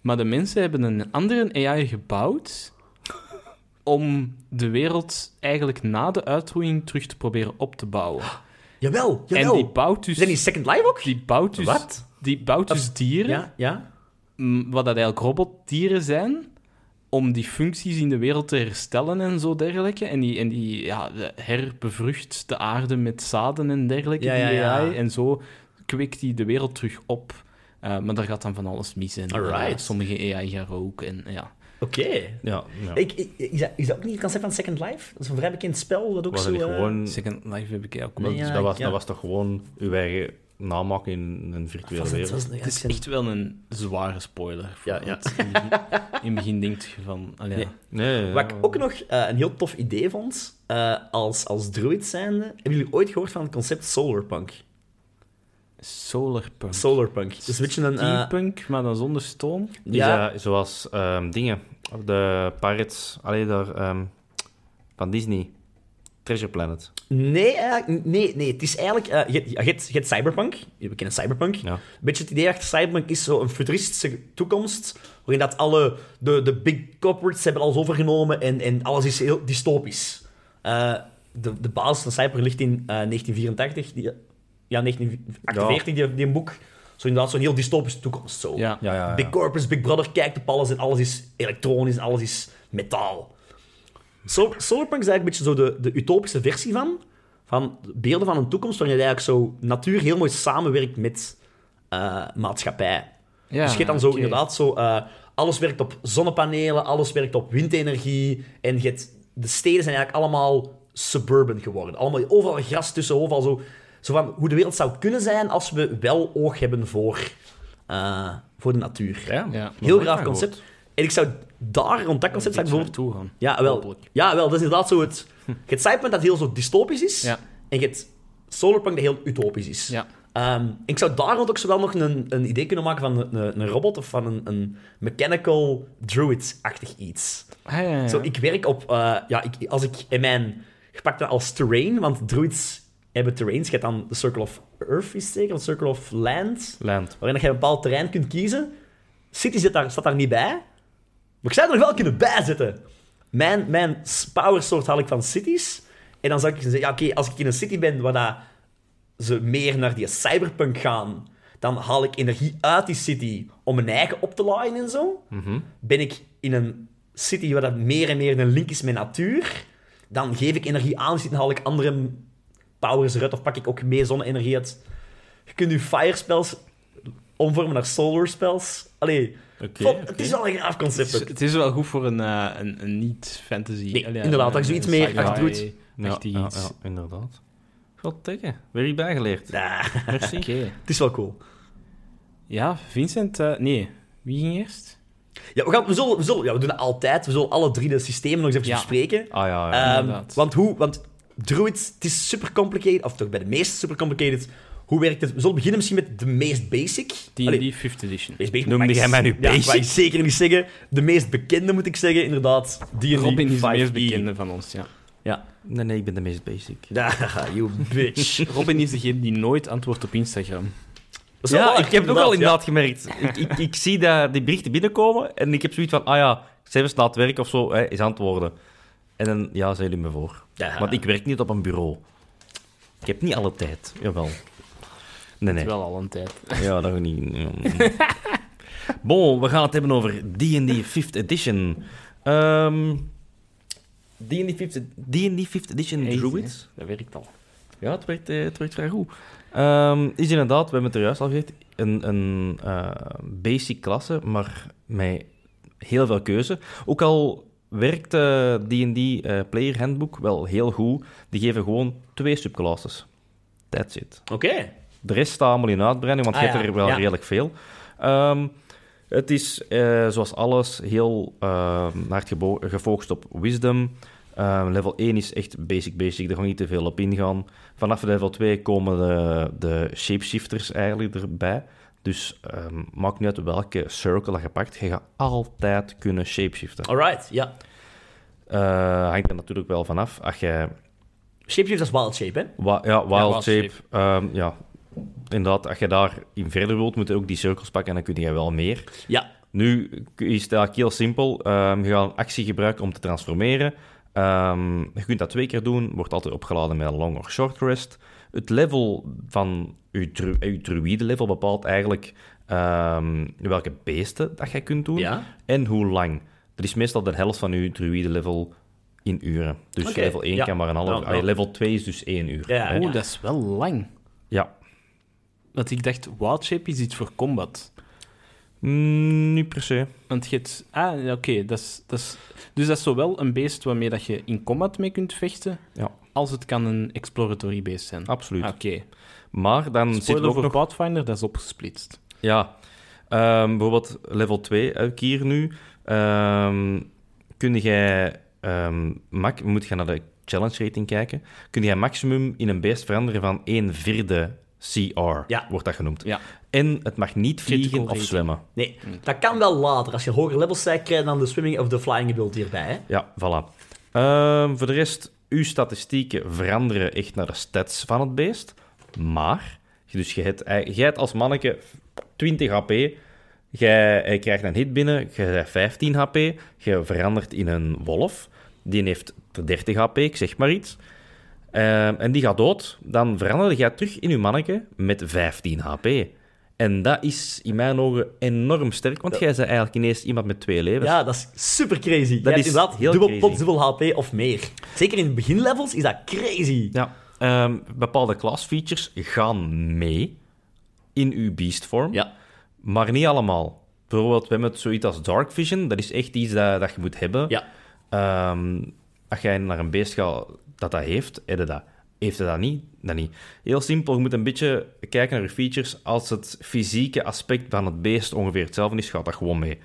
Speaker 3: maar de mensen hebben een andere AI gebouwd om de wereld eigenlijk na de uitroeiing terug te proberen op te bouwen.
Speaker 1: Jawel, jawel.
Speaker 3: En die bouwt dus...
Speaker 1: Is dat niet Second Life ook?
Speaker 3: die bouwt dus,
Speaker 1: Wat?
Speaker 3: Die bouwt dus dieren,
Speaker 1: Ja, ja.
Speaker 3: m, wat dat eigenlijk robotdieren zijn, om die functies in de wereld te herstellen en zo dergelijke. En die, en die ja, de- herbevrucht de aarde met zaden en dergelijke,
Speaker 1: Ja,
Speaker 3: die
Speaker 1: ja, ja.
Speaker 3: AI. En zo kwikt hij de wereld terug op. Eh, maar daar gaat dan van alles mis in.
Speaker 1: Alright.
Speaker 3: Eh, sommige AI gaan ook en ja.
Speaker 1: Oké.
Speaker 2: Ja, ja.
Speaker 1: Ik- ik- Is, dat- is dat ook niet het concept van Second Life? Dat is een vrij bekend spel. Dat ook
Speaker 2: was
Speaker 1: zo,
Speaker 2: dat niet
Speaker 1: eh,
Speaker 2: gewoon...
Speaker 3: Second Life heb ik ook wel.
Speaker 2: dat,
Speaker 1: Nee,
Speaker 2: dus
Speaker 1: ja,
Speaker 2: dat, was,
Speaker 1: ja.
Speaker 2: dat was toch gewoon uw eigen namaak in een virtuele
Speaker 1: was dat-
Speaker 2: wereld?
Speaker 1: was dat-
Speaker 3: Het is
Speaker 1: ja,
Speaker 3: echt wel een zware spoiler. voor-
Speaker 1: Ja, ja.
Speaker 3: want In, het begin- in het begin denk je van... allee,
Speaker 1: Nee.
Speaker 2: Nee, ja,
Speaker 1: Wat ik ook nog eh, een heel tof idee vond, eh, als, als druid zijnde... Hebben jullie ooit gehoord van het concept solarpunk?
Speaker 3: Solarpunk.
Speaker 1: Solarpunk. Dus een beetje een... eh,
Speaker 3: Steampunk, maar dan zonder stoom.
Speaker 2: Is
Speaker 1: ja,
Speaker 2: dat zoals ehm, dingen, de pirates, alleen daar, ehm, van Disney, Treasure Planet.
Speaker 1: nee, eigenlijk- nee, nee, het is eigenlijk... eh, je, je, hebt, je hebt cyberpunk. Je bekende cyberpunk.
Speaker 2: Ja.
Speaker 1: Een beetje het idee achter Cyberpunk is zo'n futuristische toekomst. Waarin dat alle de, de big corporates hebben alles overgenomen en, en alles is heel dystopisch. Eh, de, de basis van Cyberpunk ligt in eh, 1984, die, ja, 1948, Die, die een boek. Zo inderdaad, zo'n heel dystopische toekomst. Zo.
Speaker 3: Ja.
Speaker 2: Ja, ja, ja.
Speaker 1: Big corporates, Big Brother kijkt op alles en alles is elektronisch en alles is metaal. Sol- Solarpunk is eigenlijk een beetje zo de, de utopische versie van. Van beelden van een toekomst waarin je eigenlijk zo natuur heel mooi samenwerkt met eh, maatschappij.
Speaker 3: Ja,
Speaker 1: dus je hebt dan zo
Speaker 3: oké.
Speaker 1: inderdaad zo... eh, alles werkt op zonnepanelen, alles werkt op windenergie. En je hebt- de steden zijn eigenlijk allemaal suburban geworden. Allemaal, overal gras tussen, overal zo... Zo van hoe de wereld zou kunnen zijn als we wel oog hebben voor, eh, voor de natuur.
Speaker 2: Ja,
Speaker 3: Ja.
Speaker 1: Heel graaf concept. En ik zou daar, rond dat concept,
Speaker 3: Iets
Speaker 1: zou ik
Speaker 3: waar
Speaker 1: bijvoorbeeld...
Speaker 3: naartoe gaan.
Speaker 1: Ja, wel.
Speaker 3: Hopelijk. Hm.
Speaker 1: Ja, wel. Dat is inderdaad zo het... Je hebt Cyberpunk dat heel zo dystopisch is.
Speaker 3: Ja.
Speaker 1: En je hebt Solarpunk dat heel utopisch is.
Speaker 3: Ja.
Speaker 1: Ehm, ik zou daar rond ook zowel nog een, een idee kunnen maken van een, een, een robot of van een, een mechanical druid-achtig iets.
Speaker 3: Ah, ja, ja, ja.
Speaker 1: Zo, ik werk op... eh, ja, ik, als ik in mijn... Gepakt dat als terrain, want druids hebben terrains. Je hebt dan de Circle of Earth, is het zeker? Of Circle of Land
Speaker 2: Land.
Speaker 1: waarin dat je een bepaald terrein kunt kiezen. City zit daar, staat daar niet bij. Maar ik zou er nog wel kunnen bijzetten. Mijn, mijn s- power soort haal ik van cities. En dan zou ik zeggen, ja, oké, als ik in een city ben waar dat ze meer naar die cyberpunk gaan, dan haal ik energie uit die city om mijn eigen op te laaien en zo. Ben ik in een city waar dat meer en meer een link is met natuur, dan geef ik energie aan die city en haal ik andere powers eruit of pak ik ook meer zonne-energie uit. Je kunt je fire spells omvormen naar solar spells. Allee,
Speaker 2: Oké,
Speaker 1: vond-
Speaker 2: oké.
Speaker 1: het is wel een graaf
Speaker 3: het,
Speaker 1: concept.
Speaker 3: is,
Speaker 1: ook.
Speaker 3: het is wel goed voor een, eh, een, een niet-fantasy.
Speaker 1: Nee,
Speaker 3: Allee,
Speaker 1: inderdaad,
Speaker 3: een-
Speaker 1: dat is iets
Speaker 3: een
Speaker 1: meer
Speaker 3: sci-fi-
Speaker 1: achteruit.
Speaker 2: Ja,
Speaker 3: achtig
Speaker 2: ja,
Speaker 3: iets.
Speaker 2: ja, inderdaad. God tegen. Weer iets bijgeleerd.
Speaker 1: Nah,
Speaker 2: Merci.
Speaker 3: Oké.
Speaker 1: het is wel cool.
Speaker 3: Ja, Vincent... eh, nee, wie ging eerst?
Speaker 1: Ja, we, gaan, we, zullen, we, zullen, ja, we doen dat altijd. We zullen alle drie de systemen nog eens even
Speaker 3: Ja.
Speaker 1: bespreken.
Speaker 2: Ah ja, ja.
Speaker 1: Ehm,
Speaker 3: inderdaad.
Speaker 1: want hoe... Want druids, het is super complicated. Of toch bij de meeste super complicated. Hoe werkt het? We zullen beginnen misschien met de meest basic. Allee,
Speaker 3: D&D 5th Edition.
Speaker 1: meest basic,
Speaker 2: Noemde
Speaker 1: mag ik-
Speaker 2: jij mij nu
Speaker 1: Ja,
Speaker 2: basic?
Speaker 1: mag ik zeker niet zeggen. De meest bekende moet ik zeggen, inderdaad. Die E.
Speaker 3: Robin is de meest bekende van ons, ja.
Speaker 1: Ja.
Speaker 2: Nee, nee, ik ben de meest basic.
Speaker 1: Daar, you bitch.
Speaker 3: Robin is degene die nooit antwoordt op Instagram.
Speaker 1: Dat is wel
Speaker 2: Ja,
Speaker 1: waar,
Speaker 2: ik heb het ook al
Speaker 1: ja.
Speaker 2: inderdaad gemerkt. Ik, ik, ik zie dat die berichten binnenkomen en ik heb zoiets van, ah ja, zelfs na het werk of zo, hè, is antwoorden. En dan, ja, zijn jullie me voor.
Speaker 1: Ja.
Speaker 2: Want ik werk niet op een bureau. Ik heb niet alle tijd. Jawel. Nee, nee.
Speaker 3: Wel al een tijd.
Speaker 2: Ja, dat ook niet. Ja. bon, we gaan het hebben over D&D 5th Edition. Ehm, D&D 5th, D&D 5th Edition
Speaker 3: Easy,
Speaker 2: Druids.
Speaker 3: hè. Dat werkt al.
Speaker 2: Ja, het werkt, eh, het werkt vrij goed. Ehm, is inderdaad, we hebben het er juist al gezegd, een, een eh, basic klasse, maar met heel veel keuze. Ook al werkt eh, D&D eh, Player Handbook wel heel goed, die geven gewoon twee subclasses. That's it.
Speaker 1: Oké.
Speaker 2: De rest staat allemaal in uitbreiding, want
Speaker 1: Ah,
Speaker 2: je hebt
Speaker 1: ja,
Speaker 2: er wel
Speaker 1: ja.
Speaker 2: redelijk veel. Ehm, het is, eh, zoals alles, heel ehm, hard gebo- gefocust op wisdom. Ehm, level 1 is echt basic, basic. Daar ga ik niet te veel op ingaan. Vanaf level 2 komen de, de shapeshifters eigenlijk erbij. Dus ehm, maakt niet uit welke circle dat je pakt. Je gaat altijd kunnen shapeshiften.
Speaker 1: Alright, ja.
Speaker 2: Eh, hangt er natuurlijk wel vanaf. Als je
Speaker 1: Shapeshift is wild shape, hè?
Speaker 2: Wa- ja,
Speaker 3: Ja,
Speaker 2: Wild
Speaker 3: Wild
Speaker 2: Shape. ehm, ja. Inderdaad, als je daarin verder wilt, moet je ook die cirkels pakken en dan kun je wel meer.
Speaker 1: Ja.
Speaker 2: Nu is het eigenlijk heel simpel. Ehm, je gaat een actie gebruiken om te transformeren. Ehm, je kunt dat twee keer doen. Wordt altijd opgeladen met een long of short rest. Het level van je, dru je druïde level bepaalt eigenlijk ehm, welke beesten dat jij kunt doen
Speaker 1: Ja.
Speaker 2: en hoe lang. Er is meestal de helft van uw druïde-level in uren. Dus
Speaker 1: Oké,
Speaker 2: level 1
Speaker 1: ja.
Speaker 2: kan maar een half
Speaker 1: Nou,
Speaker 2: uur.
Speaker 1: nou.
Speaker 2: Level 2 is dus 1 uur.
Speaker 1: Ja,
Speaker 2: hè.
Speaker 3: Oeh, Oh, dat is wel lang.
Speaker 2: ja.
Speaker 3: Want ik dacht, Wild Shape is iets voor combat.
Speaker 2: Mm, niet per se.
Speaker 3: Want je hebt... Ah, ja, oké. dat is- dat is- dus dat is zowel een beest waarmee dat je in combat mee kunt vechten,
Speaker 2: Ja.
Speaker 3: als het kan een exploratory beest zijn.
Speaker 2: Absoluut.
Speaker 3: Ah, Oké.
Speaker 2: Maar dan zit
Speaker 3: Spoiler
Speaker 2: er ook
Speaker 3: voor
Speaker 2: nog...
Speaker 3: Pathfinder, dat is opgesplitst.
Speaker 2: Ja. Ehm, bijvoorbeeld level 2, heb ik hier nu. Ehm, kun jij... ehm, mak, moet gaan naar de challenge rating kijken. Kun jij maximum in een beest veranderen van 1 vierde CR,
Speaker 1: Ja.
Speaker 2: wordt dat genoemd.
Speaker 3: Ja.
Speaker 2: En het mag niet vliegen of
Speaker 3: rating.
Speaker 2: zwemmen.
Speaker 1: Nee,
Speaker 2: Hm.
Speaker 1: dat kan wel later. Als je hoger levels zijt, krijg je dan de swimming of de flying ability erbij. Hè?
Speaker 2: Ja, voilà. Ehm, voor de rest, uw statistieken veranderen echt naar de stats van het beest. Maar, dus je hebt, ei- jij hebt als manneke 20 HP. Jij eh, krijgt een hit binnen, je hebt 15 HP. Je verandert in een wolf. Die heeft 30 HP, ik zeg maar iets. Ehm, en die gaat dood. Dan verander jij terug in je manneke met 15 HP. En dat is in mijn ogen enorm sterk, want jij bent eigenlijk ineens iemand met twee levens.
Speaker 1: Ja, dat is super crazy. Dat
Speaker 2: is
Speaker 1: inderdaad
Speaker 2: heel
Speaker 1: dubbel
Speaker 2: crazy.
Speaker 1: pot, dubbel HP of meer. Zeker in de beginlevels is dat crazy.
Speaker 2: Ja, ehm, bepaalde klasfeatures gaan mee in uw beastvorm,
Speaker 1: Ja.
Speaker 2: maar niet allemaal. Bijvoorbeeld, we hebben het zoiets als Dark Vision. Dat is echt iets dat, dat je moet hebben.
Speaker 1: Ja.
Speaker 2: Ehm, als jij naar een beest gaat dat dat heeft, heb je dat. Heeft het dat niet? Dan niet. Heel simpel, je moet een beetje kijken naar je features. Als het fysieke aspect van het beest ongeveer hetzelfde is, gaat dat gewoon mee.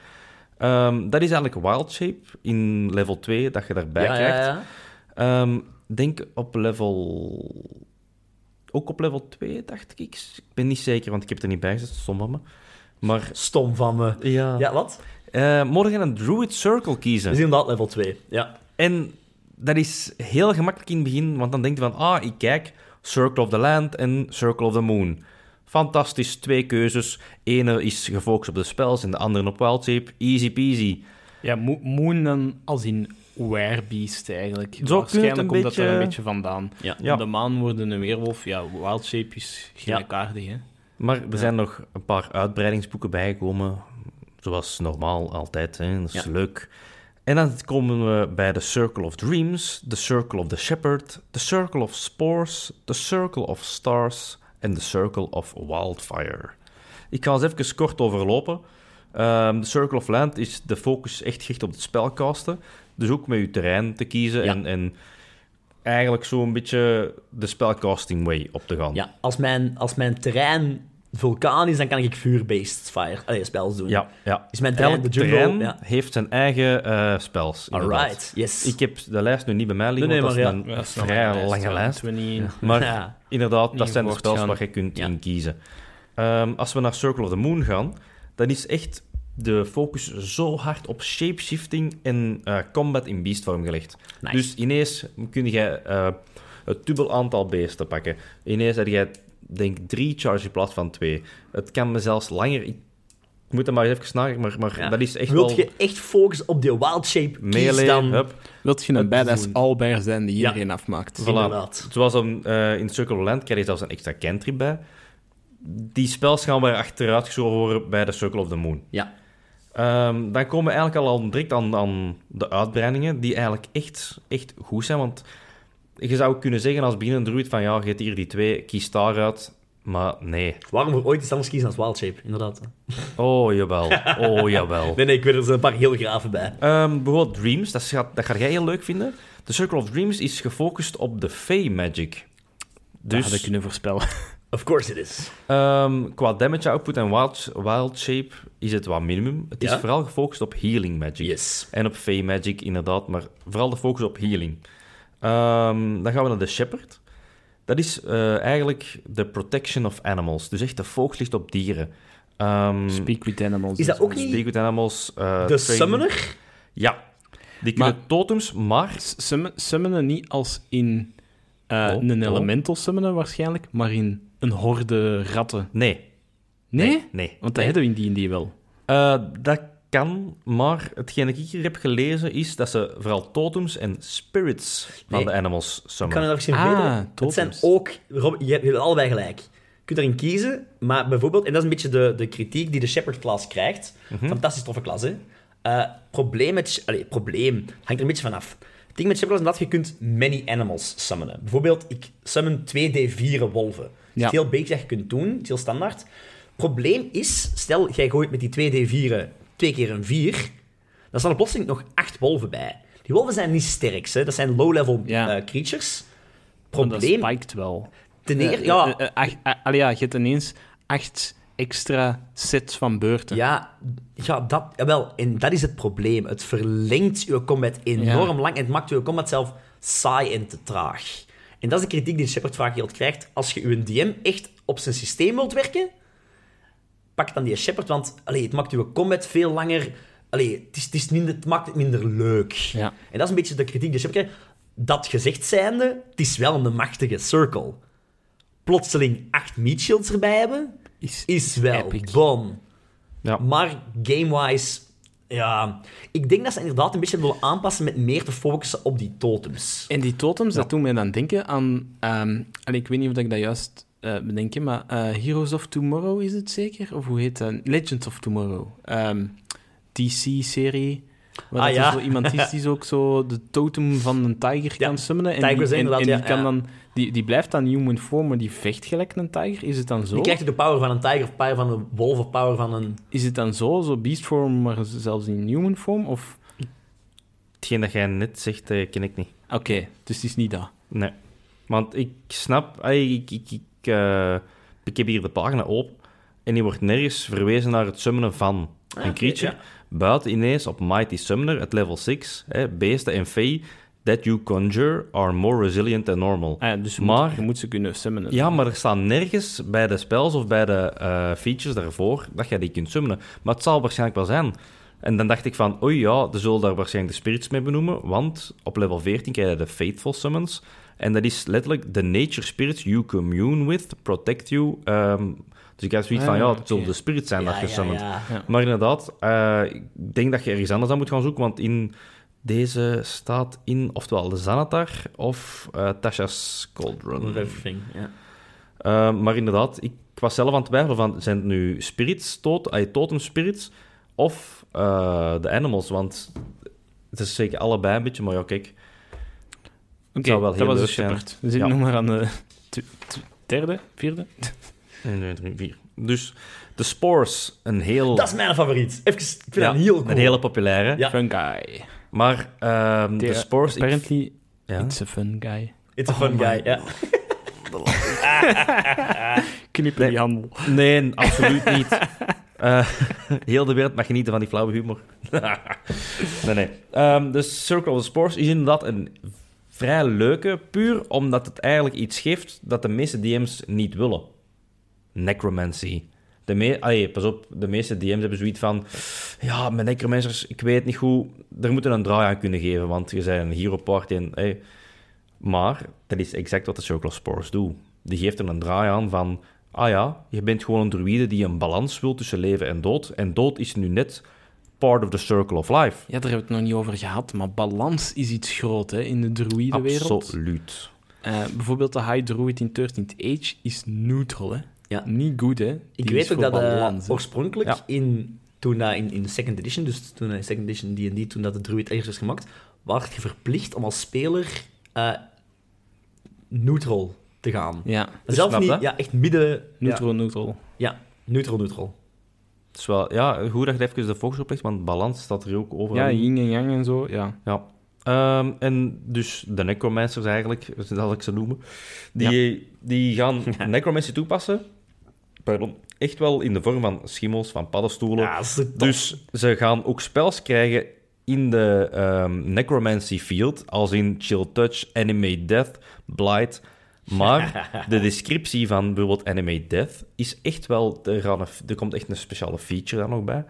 Speaker 2: Ehm, dat is eigenlijk Wild Shape in level 2, dat je daarbij
Speaker 1: ja,
Speaker 2: krijgt.
Speaker 1: ja, ja.
Speaker 2: Ehm, denk op level. Ook op level 2, dacht ik. Ik ben niet zeker, want ik heb het er niet bij gezet, stom van me. Maar.
Speaker 1: Stom van me.
Speaker 2: Ja.
Speaker 1: Ja, wat?
Speaker 2: Eh, morgen een Druid Circle
Speaker 1: Dat is
Speaker 2: kiezen.
Speaker 1: inderdaad level 2. Ja.
Speaker 2: En dat is heel gemakkelijk in het begin, want dan denk je van: ah, ik kijk Circle of the Land en Circle of the Moon. Fantastisch, twee keuzes. Ene is gefocust op de spells en de andere op wild shape. Easy peasy.
Speaker 3: Ja, Mo- Moon dan als in werebeest eigenlijk.
Speaker 2: het een
Speaker 3: Waarschijnlijk komt dat er
Speaker 2: beetje-
Speaker 3: een beetje vandaan.
Speaker 1: Ja.
Speaker 2: Ja.
Speaker 3: De maan wordt een weerwolf. Ja, Wild Shape is gelijkaardig, hè.
Speaker 2: Maar er zijn nog een paar uitbreidingsboeken bijgekomen. Zoals normaal altijd, hè? dat is
Speaker 3: Ja.
Speaker 2: leuk. En dan komen we bij de Circle of Dreams, de Circle of the Shepherd, de Circle of Spores, de Circle of Stars en de Circle of Wildfire. Ik ga eens even kort overlopen. Ehm, De Circle of Land is de focus echt gericht op het spelcasten. Dus ook met je terrein te kiezen
Speaker 1: Ja.
Speaker 2: en, en eigenlijk zo'n beetje de spelcasting way op te gaan.
Speaker 1: ja. Als, mijn, als mijn terrein vulkaan is, dan kan ik vuur-based fire, allee, spells doen.
Speaker 2: Ja, ja.
Speaker 1: Is mijn terrein
Speaker 2: Elk
Speaker 1: de jungle?
Speaker 2: terrein
Speaker 1: Ja.
Speaker 2: heeft zijn eigen eh, spels. inderdaad.
Speaker 1: Alright, yes.
Speaker 2: Ik heb de lijst nu niet bij mij liggen,
Speaker 1: Nee, nee,
Speaker 2: want
Speaker 1: maar
Speaker 2: dat is
Speaker 3: Ja,
Speaker 2: een
Speaker 3: dat is
Speaker 2: vrij lange,
Speaker 3: ja.
Speaker 2: lijst.
Speaker 3: 20.
Speaker 2: Maar
Speaker 1: Ja.
Speaker 2: inderdaad,
Speaker 3: Niet
Speaker 2: dat zijn de
Speaker 3: gevolgd
Speaker 2: spels
Speaker 3: gaan.
Speaker 2: waar je kunt
Speaker 1: Ja.
Speaker 2: in kiezen. Ehm, als we naar Circle of the Moon gaan, dan is echt de focus zo hard op shapeshifting en eh, combat in beastvorm gelegd.
Speaker 1: Nice.
Speaker 2: Dus ineens kun je eh, het dubbel aantal beesten pakken. Ineens heb jij, denk drie charges in plaats van twee. Het kan me zelfs langer... Ik moet er maar eens even snakken, maar, maar
Speaker 1: Ja.
Speaker 2: dat is echt
Speaker 1: Wilt
Speaker 2: wel...
Speaker 1: je echt focussen op die wild shape? Kies
Speaker 2: Melee,
Speaker 1: dan.
Speaker 2: hup.
Speaker 3: Wilt je een badass owlbear zijn die
Speaker 1: Ja.
Speaker 3: iedereen afmaakt?
Speaker 2: Voilà.
Speaker 1: Inderdaad.
Speaker 2: Zoals een, eh, in Circle of Land krijg je zelfs een extra cantrip bij. Die spels gaan weer achteruit geschoven worden bij de Circle of the Moon.
Speaker 1: Ja.
Speaker 2: Ehm, dan komen we eigenlijk al aan- direct aan, aan de uitbreidingen, die eigenlijk echt, echt goed zijn. Want je zou kunnen zeggen als beginnend druid van ja, je hebt hier die twee, kies daaruit. Maar nee.
Speaker 1: Waarom voor ooit iets anders kiezen als wild shape? Inderdaad.
Speaker 2: Oh, jawel. Oh, jawel.
Speaker 1: Nee, nee, ik weet er zijn een paar heel graven bij.
Speaker 2: Ehm, bijvoorbeeld Dreams, dat gaat, dat ga jij heel leuk vinden. De Circle of Dreams is gefocust op de Fey Magic.
Speaker 3: Dus...
Speaker 2: Dus...
Speaker 3: Dat had ik kunnen voorspellen.
Speaker 1: Of course it is.
Speaker 2: Ehm, qua damage output en wild, wild shape is het wat minimum. Het
Speaker 1: Ja?
Speaker 2: is vooral gefocust op healing magic.
Speaker 1: Yes.
Speaker 2: En op fey magic, inderdaad, maar vooral de focus op healing. Ehm, dan gaan we naar de shepherd. Dat is eh, eigenlijk de protection of animals. Dus echt de focus ligt op dieren. Ehm
Speaker 3: Speak with animals.
Speaker 1: Is dat ook niet
Speaker 2: speak with animals. eh,
Speaker 1: de
Speaker 2: train-
Speaker 1: summoner?
Speaker 2: Ja. Die kunnen totems, maar...
Speaker 3: Summen- Summonen niet als in eh,
Speaker 2: Oh,
Speaker 3: een
Speaker 2: oh.
Speaker 3: elemental summonen waarschijnlijk, maar in een horde ratten.
Speaker 2: Nee.
Speaker 3: Nee?
Speaker 2: Nee.
Speaker 3: Want dat hebben we in die wel.
Speaker 2: Eh, dat kan, maar hetgeen ik hier heb gelezen is dat ze vooral totems en spirits van
Speaker 1: Nee.
Speaker 2: de animals
Speaker 1: Ik kan
Speaker 2: summonen.
Speaker 1: er even
Speaker 3: Ah,
Speaker 1: verder. Het
Speaker 3: totems.
Speaker 1: zijn ook... Rob, je hebt je hebt allebei gelijk. Je kunt erin kiezen, maar bijvoorbeeld... En dat is een beetje de, de kritiek die de Shepherd-klas krijgt. Fantastisch toffe klas, hè? Eh, probleem met... Allee, probleem. Hangt er een beetje vanaf. Het ding met Shepard is dat je kunt many animals summonen. Bijvoorbeeld, ik summon 2d4 wolven. Dat is
Speaker 3: Ja.
Speaker 1: heel beetje dat je kunt doen. Het is heel standaard. Probleem is, stel, jij gooit met die 2d4 twee keer een 4. Dan staan er plotseling nog acht wolven bij. Die wolven zijn niet sterk, hè. Dat zijn low-level
Speaker 3: Ja.
Speaker 1: eh, creatures.
Speaker 3: Want dat
Speaker 1: Probleem...
Speaker 3: spiked wel.
Speaker 1: Ten eer,
Speaker 3: Eh,
Speaker 1: ja,
Speaker 3: eh, eh, ach- eh, allee, ja, je hebt ineens acht extra sets van beurten.
Speaker 1: Ja, ja, dat, jawel, en dat is het probleem. Het verlengt uw combat enorm lang en het maakt uw combat zelf saai en te traag. En dat is de kritiek die Shepard vaak heel krijgt. Als je uw DM echt op zijn systeem wilt werken, pak dan die Shepard, want allee, het maakt uw combat veel langer... Allee, het, is, het, is minder, het maakt het minder leuk.
Speaker 3: Ja.
Speaker 1: En dat is een beetje de kritiek die Shepard krijgt. Dat gezegd zijnde, het is wel een machtige circle. Plotseling acht meat shields erbij hebben,
Speaker 3: Is-
Speaker 1: is wel
Speaker 3: epic.
Speaker 1: bon.
Speaker 2: Ja.
Speaker 1: Maar game-wise, ja. Ik denk dat ze inderdaad een beetje willen aanpassen met meer te focussen op die totems.
Speaker 3: En die totems, dat doen mij dan denken aan... ehm, allee, ik weet niet of ik dat juist eh bedenk, maar eh, Heroes of Tomorrow is het zeker? Of hoe heet dat? Legends of Tomorrow. Ehm, DC-serie. Waar
Speaker 1: Ah,
Speaker 3: dat er
Speaker 1: ja.
Speaker 3: zo iemand is die zo ook zo de totem van een tiger
Speaker 1: Ja,
Speaker 3: kan summonen. En die-
Speaker 1: tigers
Speaker 3: en,
Speaker 1: inderdaad,
Speaker 3: en die,
Speaker 1: ja,
Speaker 3: kan
Speaker 1: ja.
Speaker 3: Dan, die, die blijft dan human form, maar die vecht gelijk een tiger. Is het dan zo?
Speaker 1: Je krijgt de power van een tiger, of power van een wolf, of power van een...
Speaker 3: Is het dan zo, zo beast form, maar zelfs in human form? Of...
Speaker 2: Hetgeen dat jij net zegt, eh, ken ik niet.
Speaker 3: Oké, dus het is niet dat.
Speaker 2: Nee. Want ik snap... ey, ik, ik, ik, eh, ik heb hier de pagina open en die wordt nergens verwezen naar het summonen van een
Speaker 1: Ah, oké,
Speaker 2: creature.
Speaker 1: ja.
Speaker 2: Buiten ineens op Mighty Summoner, het level 6, hè, beesten en fee that you conjure are more resilient than normal.
Speaker 3: Ah ja, dus je,
Speaker 2: Maar-
Speaker 3: moet, je moet ze kunnen summonen.
Speaker 2: Ja, maar er staan nergens bij de spells of bij de eh, features daarvoor dat jij die kunt summonen. Maar het zal waarschijnlijk wel zijn. En dan dacht ik van, oei ja, ze zullen daar waarschijnlijk de spirits mee benoemen, want op level 14 krijg je de Faithful Summons. En dat is letterlijk de nature spirits you commune with, protect you. ehm, dus ik had zoiets van,
Speaker 3: Ah,
Speaker 2: ja, het
Speaker 3: oké.
Speaker 2: zullen de spirits zijn dat je summont.
Speaker 1: ja.
Speaker 2: Maar inderdaad, eh, ik denk dat je ergens anders aan moet gaan zoeken, want in deze staat in, oftewel de Zanatar of eh, Tasha's Cauldron.
Speaker 1: Of everything, ja.
Speaker 2: Eh, maar inderdaad, ik was zelf aan het twijfelen van... Zijn het nu spirits, tot, ay, totem spirits of eh, de animals? Want het is zeker allebei een beetje... Maar ja, kijk.
Speaker 3: Oké,
Speaker 2: Zou wel heel
Speaker 3: dat was
Speaker 2: leuk
Speaker 3: de
Speaker 2: zijn.
Speaker 3: Shepard. We zitten
Speaker 2: Ja.
Speaker 3: nog maar aan de t- t- derde, vierde.
Speaker 2: 1, 2, 3, 4. Dus de spores, een heel...
Speaker 1: Dat is mijn favoriet. Even, ik vind
Speaker 2: ja,
Speaker 1: dat heel cool.
Speaker 2: Een hele populaire.
Speaker 1: Ja.
Speaker 3: Fun guy.
Speaker 2: Maar ehm, de
Speaker 3: Ja,
Speaker 2: spores... ik-
Speaker 3: Apparently,
Speaker 2: ja.
Speaker 3: it's a fun guy.
Speaker 1: It's a fun
Speaker 3: Oh,
Speaker 1: guy,
Speaker 3: man.
Speaker 1: ja.
Speaker 3: Knippen die handel.
Speaker 2: Nee, absoluut niet. Eh, heel de wereld mag genieten van die flauwe humor. nee, nee. Ehm, de Circle of the Spores is inderdaad een vrij leuke, puur omdat het eigenlijk iets geeft dat de meeste DM's niet willen. Necromancy. De me- Allee, pas op, de meeste DM's hebben zoiets van... Ja, mijn necromancers, ik weet niet hoe... Daar moeten we een draai aan kunnen geven, want je bent een hero party en... hey. Maar dat is exact wat de Circle of Spores doet. Die geeft er een draai aan van... Ah ja, je bent gewoon een druïde die een balans wil tussen leven en dood. En dood is nu net part of the circle of life.
Speaker 3: Ja, daar hebben we het nog niet over gehad, maar balans is iets groot hè, in de druïdenwereld.
Speaker 2: Absoluut.
Speaker 3: Eh, bijvoorbeeld de High Druid in 13th Age is neutral. Hè.
Speaker 1: Ja.
Speaker 3: Niet goed, hè.
Speaker 1: Ik
Speaker 3: Die
Speaker 1: weet
Speaker 3: is
Speaker 1: ook
Speaker 3: voor
Speaker 1: dat eh,
Speaker 3: balans, hè.
Speaker 1: oorspronkelijk
Speaker 2: Ja.
Speaker 1: in, toen dat in, in Second Edition, dus toen eh, in Second Edition D&D, toen dat de druid ergens is gemaakt, werd je verplicht om als speler eh, neutral te gaan.
Speaker 3: Ja,
Speaker 1: Zelf
Speaker 2: snap
Speaker 1: Dus niet,
Speaker 2: dat.
Speaker 1: ja, echt midden...
Speaker 3: neutral, neutral.
Speaker 1: Ja, neutral, neutral.
Speaker 2: Het is wel, ja, goed dat je even de focus oplegt, want balans staat er ook overal.
Speaker 3: Ja,
Speaker 2: in.
Speaker 3: yin en yang en zo, ja.
Speaker 2: Ja. Ehm, en dus de necromancers eigenlijk, zal ik ze noemen, die, die gaan necromancy toepassen. Pardon. Echt wel in de vorm van schimmels, van paddenstoelen.
Speaker 1: Ja, dat is top.
Speaker 2: Dus ze gaan ook spells krijgen in de ehm, necromancy field, als in chill touch, anime death, blight. Maar de descriptie van bijvoorbeeld anime death is echt wel... Er, gaan een- er komt echt een speciale feature daar nog bij.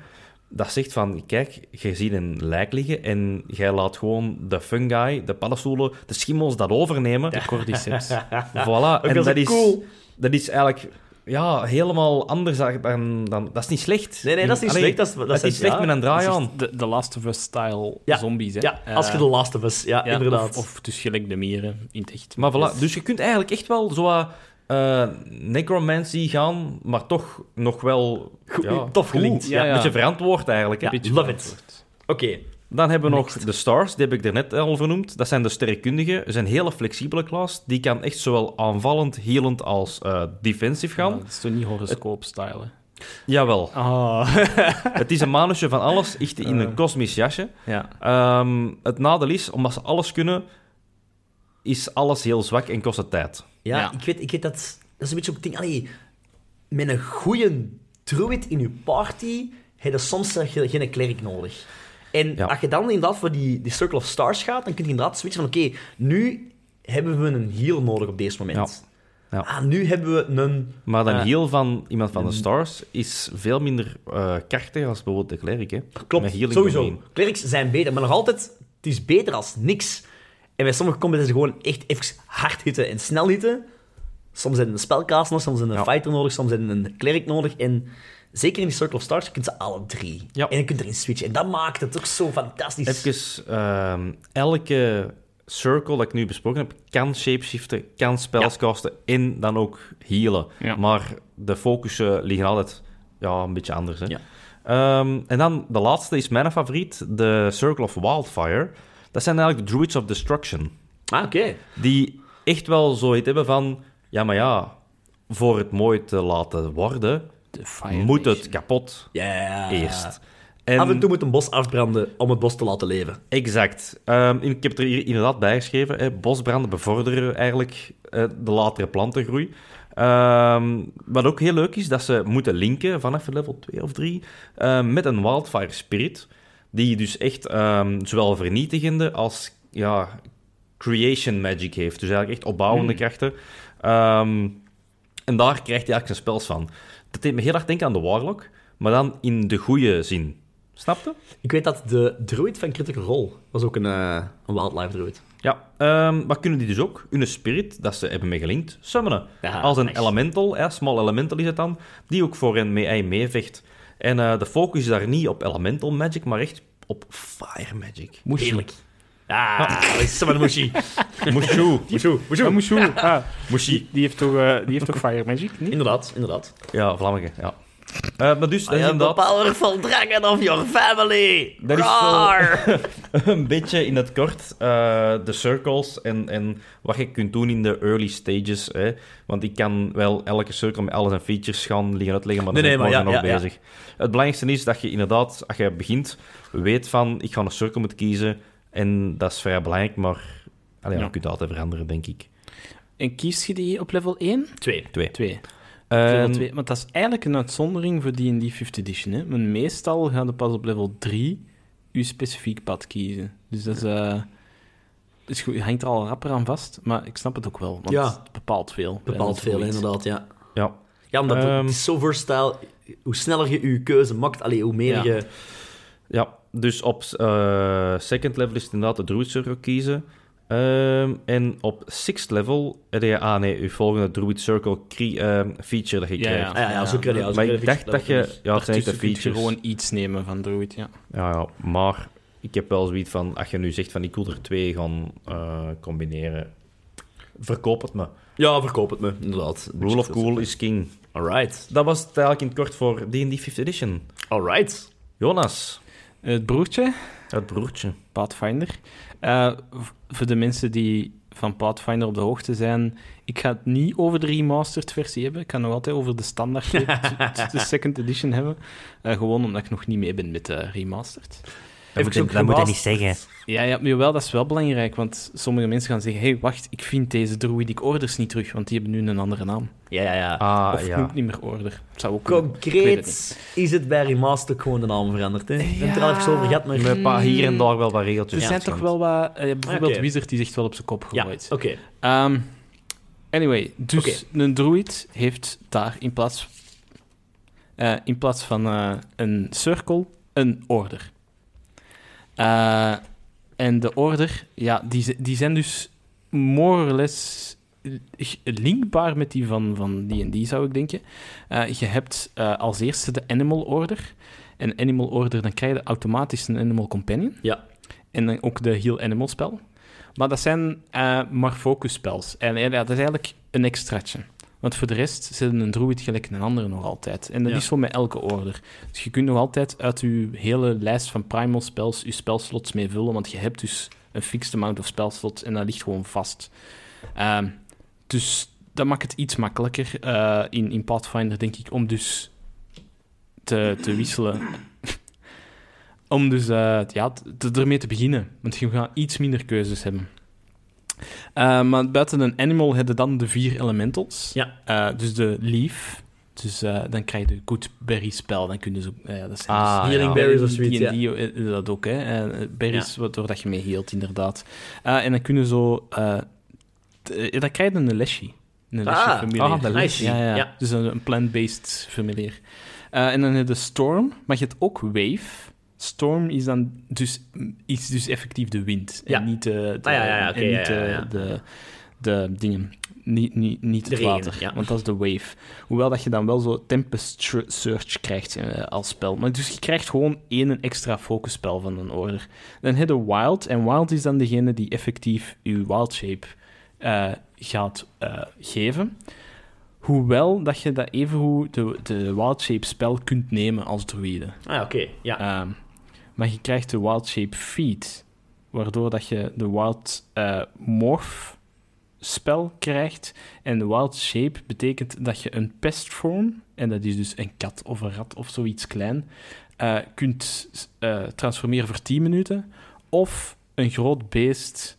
Speaker 2: Dat zegt van, kijk, je ziet een lijk liggen en jij laat gewoon de fungi, de paddenstoelen, de schimmels dat overnemen.
Speaker 3: De cordyceps.
Speaker 2: Voilà. En
Speaker 1: dat is
Speaker 2: dat is,
Speaker 1: cool.
Speaker 2: dat is eigenlijk ja, helemaal anders dan, dan... Dat is niet slecht.
Speaker 1: Nee, nee, dat is niet
Speaker 2: Allee,
Speaker 1: slecht. Dat is, dat
Speaker 2: dat
Speaker 1: zijn-
Speaker 2: is slecht
Speaker 1: ja.
Speaker 2: met een draai
Speaker 3: Dat is
Speaker 2: aan.
Speaker 3: echt de, de Last of Us-style
Speaker 1: Ja.
Speaker 3: zombies, hè. Eh,
Speaker 1: Ja, als je de Last of Us... Ja,
Speaker 3: Ja,
Speaker 1: inderdaad.
Speaker 3: Of, of dus gelijk de mieren in het echt.
Speaker 2: Maar voilà,
Speaker 3: Yes.
Speaker 2: dus je kunt eigenlijk echt wel zo wat, eh, necromancy gaan, maar toch nog wel
Speaker 1: Goed,
Speaker 2: ja,
Speaker 1: tof gelinkt.
Speaker 2: goed.
Speaker 3: Ja,
Speaker 2: Een
Speaker 3: ja.
Speaker 2: beetje verantwoord eigenlijk. Hè?
Speaker 1: Ja,
Speaker 3: Beetje
Speaker 1: love it.
Speaker 3: verantwoord.
Speaker 1: Oké,
Speaker 2: Dan hebben we nog de stars, die heb ik er net al vernoemd. Dat zijn de sterrenkundigen. Het is een hele flexibele klas. Die kan echt zowel aanvallend, helend als eh, defensief gaan.
Speaker 3: Dat is toch niet horoscoop-style?
Speaker 2: Jawel.
Speaker 3: Ah.
Speaker 2: Het is een manusje van alles, echt in een kosmisch jasje.
Speaker 3: ja.
Speaker 2: Ehm, het nadeel is, omdat ze alles kunnen, is alles heel zwak en kost het tijd.
Speaker 1: ja,
Speaker 3: Ja.
Speaker 1: Ik, weet, ik weet dat... Dat is een beetje ook het ding... Allee, met een goede druid in je party heb je soms eh, ge- geen klerk nodig. En
Speaker 2: Ja.
Speaker 1: als je dan inderdaad voor die, die Circle of Stars gaat, dan kun je inderdaad switchen van oké, nu hebben we een heal nodig op deze moment.
Speaker 2: Ja. Ja.
Speaker 1: Ah, nu hebben we een...
Speaker 2: Maar een
Speaker 1: Ja. Mhm.
Speaker 2: heel van iemand van de stars is veel minder eh krachtig als bijvoorbeeld de klerk. Hè? Met
Speaker 1: Klopt,
Speaker 2: healing
Speaker 1: sowieso.
Speaker 2: domein.
Speaker 1: Clerics zijn beter, maar nog altijd, het is beter als niks. En bij sommige combats is het gewoon echt even hard hitten en snel hitten. Soms zijn een spelkaas nodig, soms zijn een
Speaker 2: Ja.
Speaker 1: fighter nodig, soms zijn een cleric nodig. En zeker in die Circle of Stars, je kunt ze alle drie.
Speaker 2: Ja.
Speaker 1: En je kunt erin switchen. En dat maakt het ook zo fantastisch.
Speaker 2: Even, ehm, elke circle dat ik nu besproken heb, kan shapeshiften, kan spells casten en dan ook healen.
Speaker 3: Ja.
Speaker 2: Maar de focussen liggen altijd ja, een beetje anders. Hè?
Speaker 1: Ja.
Speaker 2: Ehm, en dan de laatste is mijn favoriet, de Circle of Wildfire. Dat zijn eigenlijk de Druids of Destruction.
Speaker 1: Ah, oké.
Speaker 2: Die echt wel zoiets hebben van... Ja, maar ja, voor het mooi te laten worden,
Speaker 3: De Fire
Speaker 2: moet het
Speaker 3: Nation.
Speaker 2: kapot
Speaker 1: Ja.
Speaker 2: eerst. En-
Speaker 1: Ah. Af en toe moet een bos afbranden om het bos te laten leven.
Speaker 2: Exact. Ehm, ik heb er hier inderdaad bij geschreven. Hè, bosbranden bevorderen eigenlijk eh, de latere plantengroei. Ehm, wat ook heel leuk is, dat ze moeten linken vanaf level 2 of 3 ehm, met een wildfire spirit. Die dus echt ehm, zowel vernietigende als ja, creation magic heeft. Dus eigenlijk echt opbouwende krachten. Ehm, en daar krijgt hij eigenlijk zijn spels van. Dat deed me heel erg denken aan de warlock, maar dan in de goede zin. Snapte?
Speaker 1: Ik weet dat de druid van Critical Role was ook een, eh, een wildlife druid.
Speaker 2: Ja, ehm, maar kunnen die dus ook hun spirit, dat ze hebben meegelinkt, summonen.
Speaker 1: Ja,
Speaker 2: Als een
Speaker 1: nice.
Speaker 2: elemental, hè, small elemental is het dan, die ook voor hen mee, hij meevecht. En eh, de focus is daar niet op elemental magic, maar echt op fire magic.
Speaker 3: Moeshi.
Speaker 1: Heerlijk. Ah, dat is zomaar een mushi.
Speaker 2: Mushu.
Speaker 1: Mushu, mushu.
Speaker 3: Ah, Mushu. Ah,
Speaker 2: Mushi.
Speaker 3: die heeft toch, eh, die heeft toch Fire Magic? Niet?
Speaker 1: Inderdaad, inderdaad.
Speaker 2: Ja, Vlamminge, ja. Eh, maar dus, dat is
Speaker 1: I am the
Speaker 2: inderdaad
Speaker 1: powerful dragon of your family!
Speaker 2: Dat is
Speaker 1: Roar!
Speaker 2: een beetje in het kort eh, de circles en, en wat je kunt doen in de early stages. Hè. Want ik kan wel elke circle met al zijn features gaan liggen uitleggen, maar dan
Speaker 1: Nee,
Speaker 2: ben ik
Speaker 1: nee, maar
Speaker 2: morgen
Speaker 1: ja,
Speaker 2: nog
Speaker 1: ja, ja.
Speaker 2: bezig. Het belangrijkste is dat je inderdaad, als je begint, weet van ik ga een circle moeten kiezen. En dat is vrij belangrijk, maar allee,
Speaker 3: Ja.
Speaker 2: je kunt altijd veranderen, denk ik.
Speaker 3: En kies je die op level 1?
Speaker 1: Twee.
Speaker 2: Twee.
Speaker 3: 2.
Speaker 2: Ehm,
Speaker 3: Level 2. Want dat is eigenlijk een uitzondering voor D&D 5th Edition. Hè? Want meestal gaan je pas op level 3 je specifiek pad kiezen. Dus dat is, eh, is goed. Je hangt er al rapper aan vast, maar ik snap het ook wel. Want
Speaker 1: Ja.
Speaker 3: het bepaalt veel. Eh, bij
Speaker 1: Bepaald
Speaker 3: ons
Speaker 1: veel,
Speaker 3: ooit.
Speaker 1: inderdaad, ja.
Speaker 2: ja.
Speaker 1: Ja, omdat het-
Speaker 2: Ehm.
Speaker 1: het is zo versatile. Hoe sneller je je keuze maakt, allee, hoe meer
Speaker 3: Ja.
Speaker 1: je...
Speaker 2: Ja, dus op eh, second level is het inderdaad de druid circle kiezen. Ehm, en op sixth level heb je, ah nee, je volgende druid circle cre- ehm, feature dat je
Speaker 3: Ja,
Speaker 2: krijgt.
Speaker 1: Ah, ja, ja, zo
Speaker 3: Ja.
Speaker 1: kun je... ja, zo
Speaker 2: maar
Speaker 1: kun
Speaker 2: ik
Speaker 1: je dus. fixen,
Speaker 2: dacht dat je, ja, het zijn echt de
Speaker 3: Daartussen kun je
Speaker 2: features.
Speaker 3: gewoon iets nemen van Druid, ja.
Speaker 2: Ja, ja, maar ik heb wel zoiets van, als je nu zegt van ik wil er twee gaan eh, combineren, verkoop het me.
Speaker 1: Ja, verkoop het me, inderdaad.
Speaker 2: Rule of cool is king.
Speaker 1: Alright.
Speaker 2: Dat was het eigenlijk in het kort voor D&D 5th edition.
Speaker 1: Alright.
Speaker 2: Jonas,
Speaker 3: Eh, Het broertje,
Speaker 2: het broertje.
Speaker 3: Pathfinder. Eh, v- voor de mensen die van Pathfinder op de hoogte zijn, ik ga het niet over de remastered versie hebben. Ik kan nog altijd over de standaard, de- de second edition hebben. Eh, gewoon omdat ik nog niet mee ben met de remastered.
Speaker 2: Dat
Speaker 1: moet je- dat moet je niet
Speaker 2: zeggen.
Speaker 3: Ja, ja, maar jawel, dat is wel belangrijk, want sommige mensen gaan zeggen, hey, wacht, ik vind deze druidic orders niet terug, want die hebben nu een andere naam.
Speaker 1: Ja, ja, ja.
Speaker 2: Ah,
Speaker 3: of
Speaker 2: ja.
Speaker 3: noemt niet meer order. Zou ook kunnen. Ik weet het niet.
Speaker 1: Concreet is het bij Remaster gewoon de naam veranderd, hè? Ik ben het er
Speaker 3: Ja.
Speaker 1: al even over gehad, maar...
Speaker 2: Met een paar hier en daar wel wat regeltjes.
Speaker 3: Er zijn toch wel wat... eh, bijvoorbeeld
Speaker 1: Oké.
Speaker 3: Wizard, die zegt wel op zijn kop
Speaker 1: Ja,
Speaker 3: gegooid.
Speaker 1: oké.
Speaker 3: Ehm, anyway, dus een druid heeft daar in plaats, eh, in plaats van eh, een cirkel een order. Eh, en de order, ja, die, z- die zijn dus more or less g- linkbaar met die van, van D&D, zou ik denken. Eh, je hebt eh, als eerste de animal order. En animal order, dan krijg je automatisch een animal companion.
Speaker 1: Ja.
Speaker 3: En dan ook de heal animal spel. Maar dat zijn eh maar focus spells. En eh, ja, dat is eigenlijk een extraatje. Want voor de rest zitten een druid gelijk een andere nog altijd. En dat
Speaker 1: Ja.
Speaker 3: is voor met elke order. Dus je kunt nog altijd uit je hele lijst van primal spells je spelslots mee vullen, want je hebt dus een fixed amount of spelslots en dat ligt gewoon vast. Ehm, dus dat maakt het iets makkelijker eh, in, in Pathfinder, denk ik, om dus te, te wisselen. om dus eh, ja, te- ermee te beginnen, want je gaat iets minder keuzes hebben. Eh, maar buiten een animal hebben dan de vier elementals.
Speaker 1: Ja.
Speaker 3: Eh, dus de leaf. Dus eh, dan krijg je de good berry spel. Dan kun je zo... eh, dat zijn dus-
Speaker 2: Ah,
Speaker 1: Healing
Speaker 2: ja.
Speaker 1: berries of zoiets,
Speaker 3: die,
Speaker 1: ja.
Speaker 3: die, eh, dat ook, hè. Eh, berries, waardoor dat je mee heelt, inderdaad. Eh, en dan kun je zo... eh, t- eh, dan krijg je een lesje. Een lesje
Speaker 1: Ah,
Speaker 3: familiar.
Speaker 2: ah, een
Speaker 1: lesje,
Speaker 3: Ja, ja.
Speaker 1: ja.
Speaker 3: Dus een, een plant-based familiar. Eh, en dan heb je de storm, maar je hebt ook wave. Storm is dan dus, is dus effectief de wind.
Speaker 1: Ja.
Speaker 3: En niet eh, de, de-
Speaker 1: Ah, ja, ja, ja, oké,
Speaker 3: en
Speaker 1: ja,
Speaker 3: niet
Speaker 1: ja,
Speaker 3: de-
Speaker 1: ja.
Speaker 3: de, de dingen. Niet, niet, niet
Speaker 1: De
Speaker 3: het
Speaker 1: regen,
Speaker 3: water,
Speaker 1: ja.
Speaker 3: want dat is de wave. Hoewel dat je dan wel zo Tempest Tr- Search krijgt eh, als spel. Maar dus je krijgt gewoon één een extra focusspel van een order. Dan heb je Wild, en Wild is dan degene die effectief je Wild Shape eh, gaat eh, geven. Hoewel dat je dat evengoed de, de Wild Shape spel kunt nemen als druïde.
Speaker 1: Ah, ja, oké. Ja.
Speaker 3: Ehm, maar je krijgt de Wild Shape Feed, waardoor dat je de Wild eh, Morph spel krijgt. En de Wild Shape betekent dat je een pestvorm, en dat is dus een kat of een rat of zoiets klein, eh, kunt eh, transformeren voor 10 minuten. Of een groot beest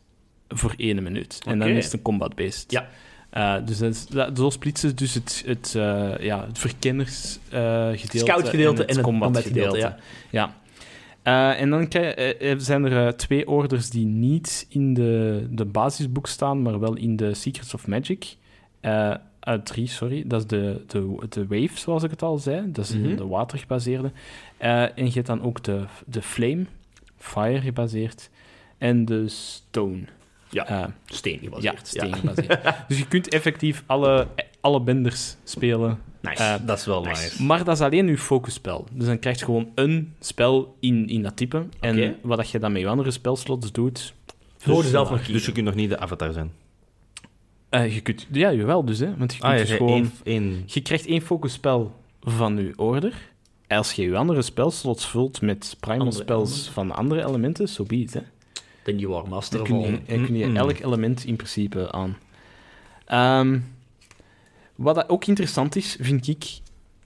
Speaker 3: voor 1 minuut. En dan
Speaker 1: Oké.
Speaker 3: is het een combat beest.
Speaker 1: Ja.
Speaker 3: Eh, dus dat is, dat, zo splitsen ze dus het, het, eh, ja, het verkennersgedeelte
Speaker 1: Scoutgedeelte en het combatgedeelte,
Speaker 3: combatgedeelte. Ja. Eh, en dan krijg- eh, eh, zijn er eh, twee orders die niet in de, de basisboek staan, maar wel in de Secrets of Magic. Eh eh, drie, sorry. Dat is de, de, de Wave, zoals ik het al zei. Dat is
Speaker 2: Mhm.
Speaker 3: de watergebaseerde. Eh, en je hebt dan ook de, de Flame, Fire gebaseerd. En de Stone.
Speaker 1: Ja.
Speaker 3: Eh,
Speaker 1: Steen
Speaker 3: ja,
Speaker 1: gebaseerd.
Speaker 3: steen gebaseerd. dus je kunt effectief alle, alle benders spelen.
Speaker 1: Nice.
Speaker 3: Eh,
Speaker 2: Dat is wel
Speaker 1: Nice.
Speaker 2: nice.
Speaker 3: maar dat is alleen uw focusspel. Dus dan krijg je gewoon een spel in, in dat type. En
Speaker 1: Oké.
Speaker 3: wat dat je dan met je andere spelslots doet...
Speaker 1: Voor
Speaker 3: dus-
Speaker 1: jezelf nog
Speaker 2: Dus je
Speaker 1: kiezen.
Speaker 2: kunt nog niet de avatar zijn.
Speaker 3: Eh, je kunt... Ja, jawel dus, hè. Want je kunt
Speaker 2: Ah, ja,
Speaker 3: dus
Speaker 2: je
Speaker 3: gewoon...
Speaker 2: één, één-
Speaker 3: Je krijgt één focusspel van uw order. Als je je andere spelslots vult met primal
Speaker 1: Andere
Speaker 3: spels van andere elementen, zo so be it, hè.
Speaker 1: Then you are master
Speaker 3: Dan
Speaker 1: of
Speaker 3: kun
Speaker 1: all.
Speaker 3: je, dan kun je
Speaker 2: Mm-mm.
Speaker 3: elk element in principe aan. Ehm, wat dat ook interessant is, vind ik,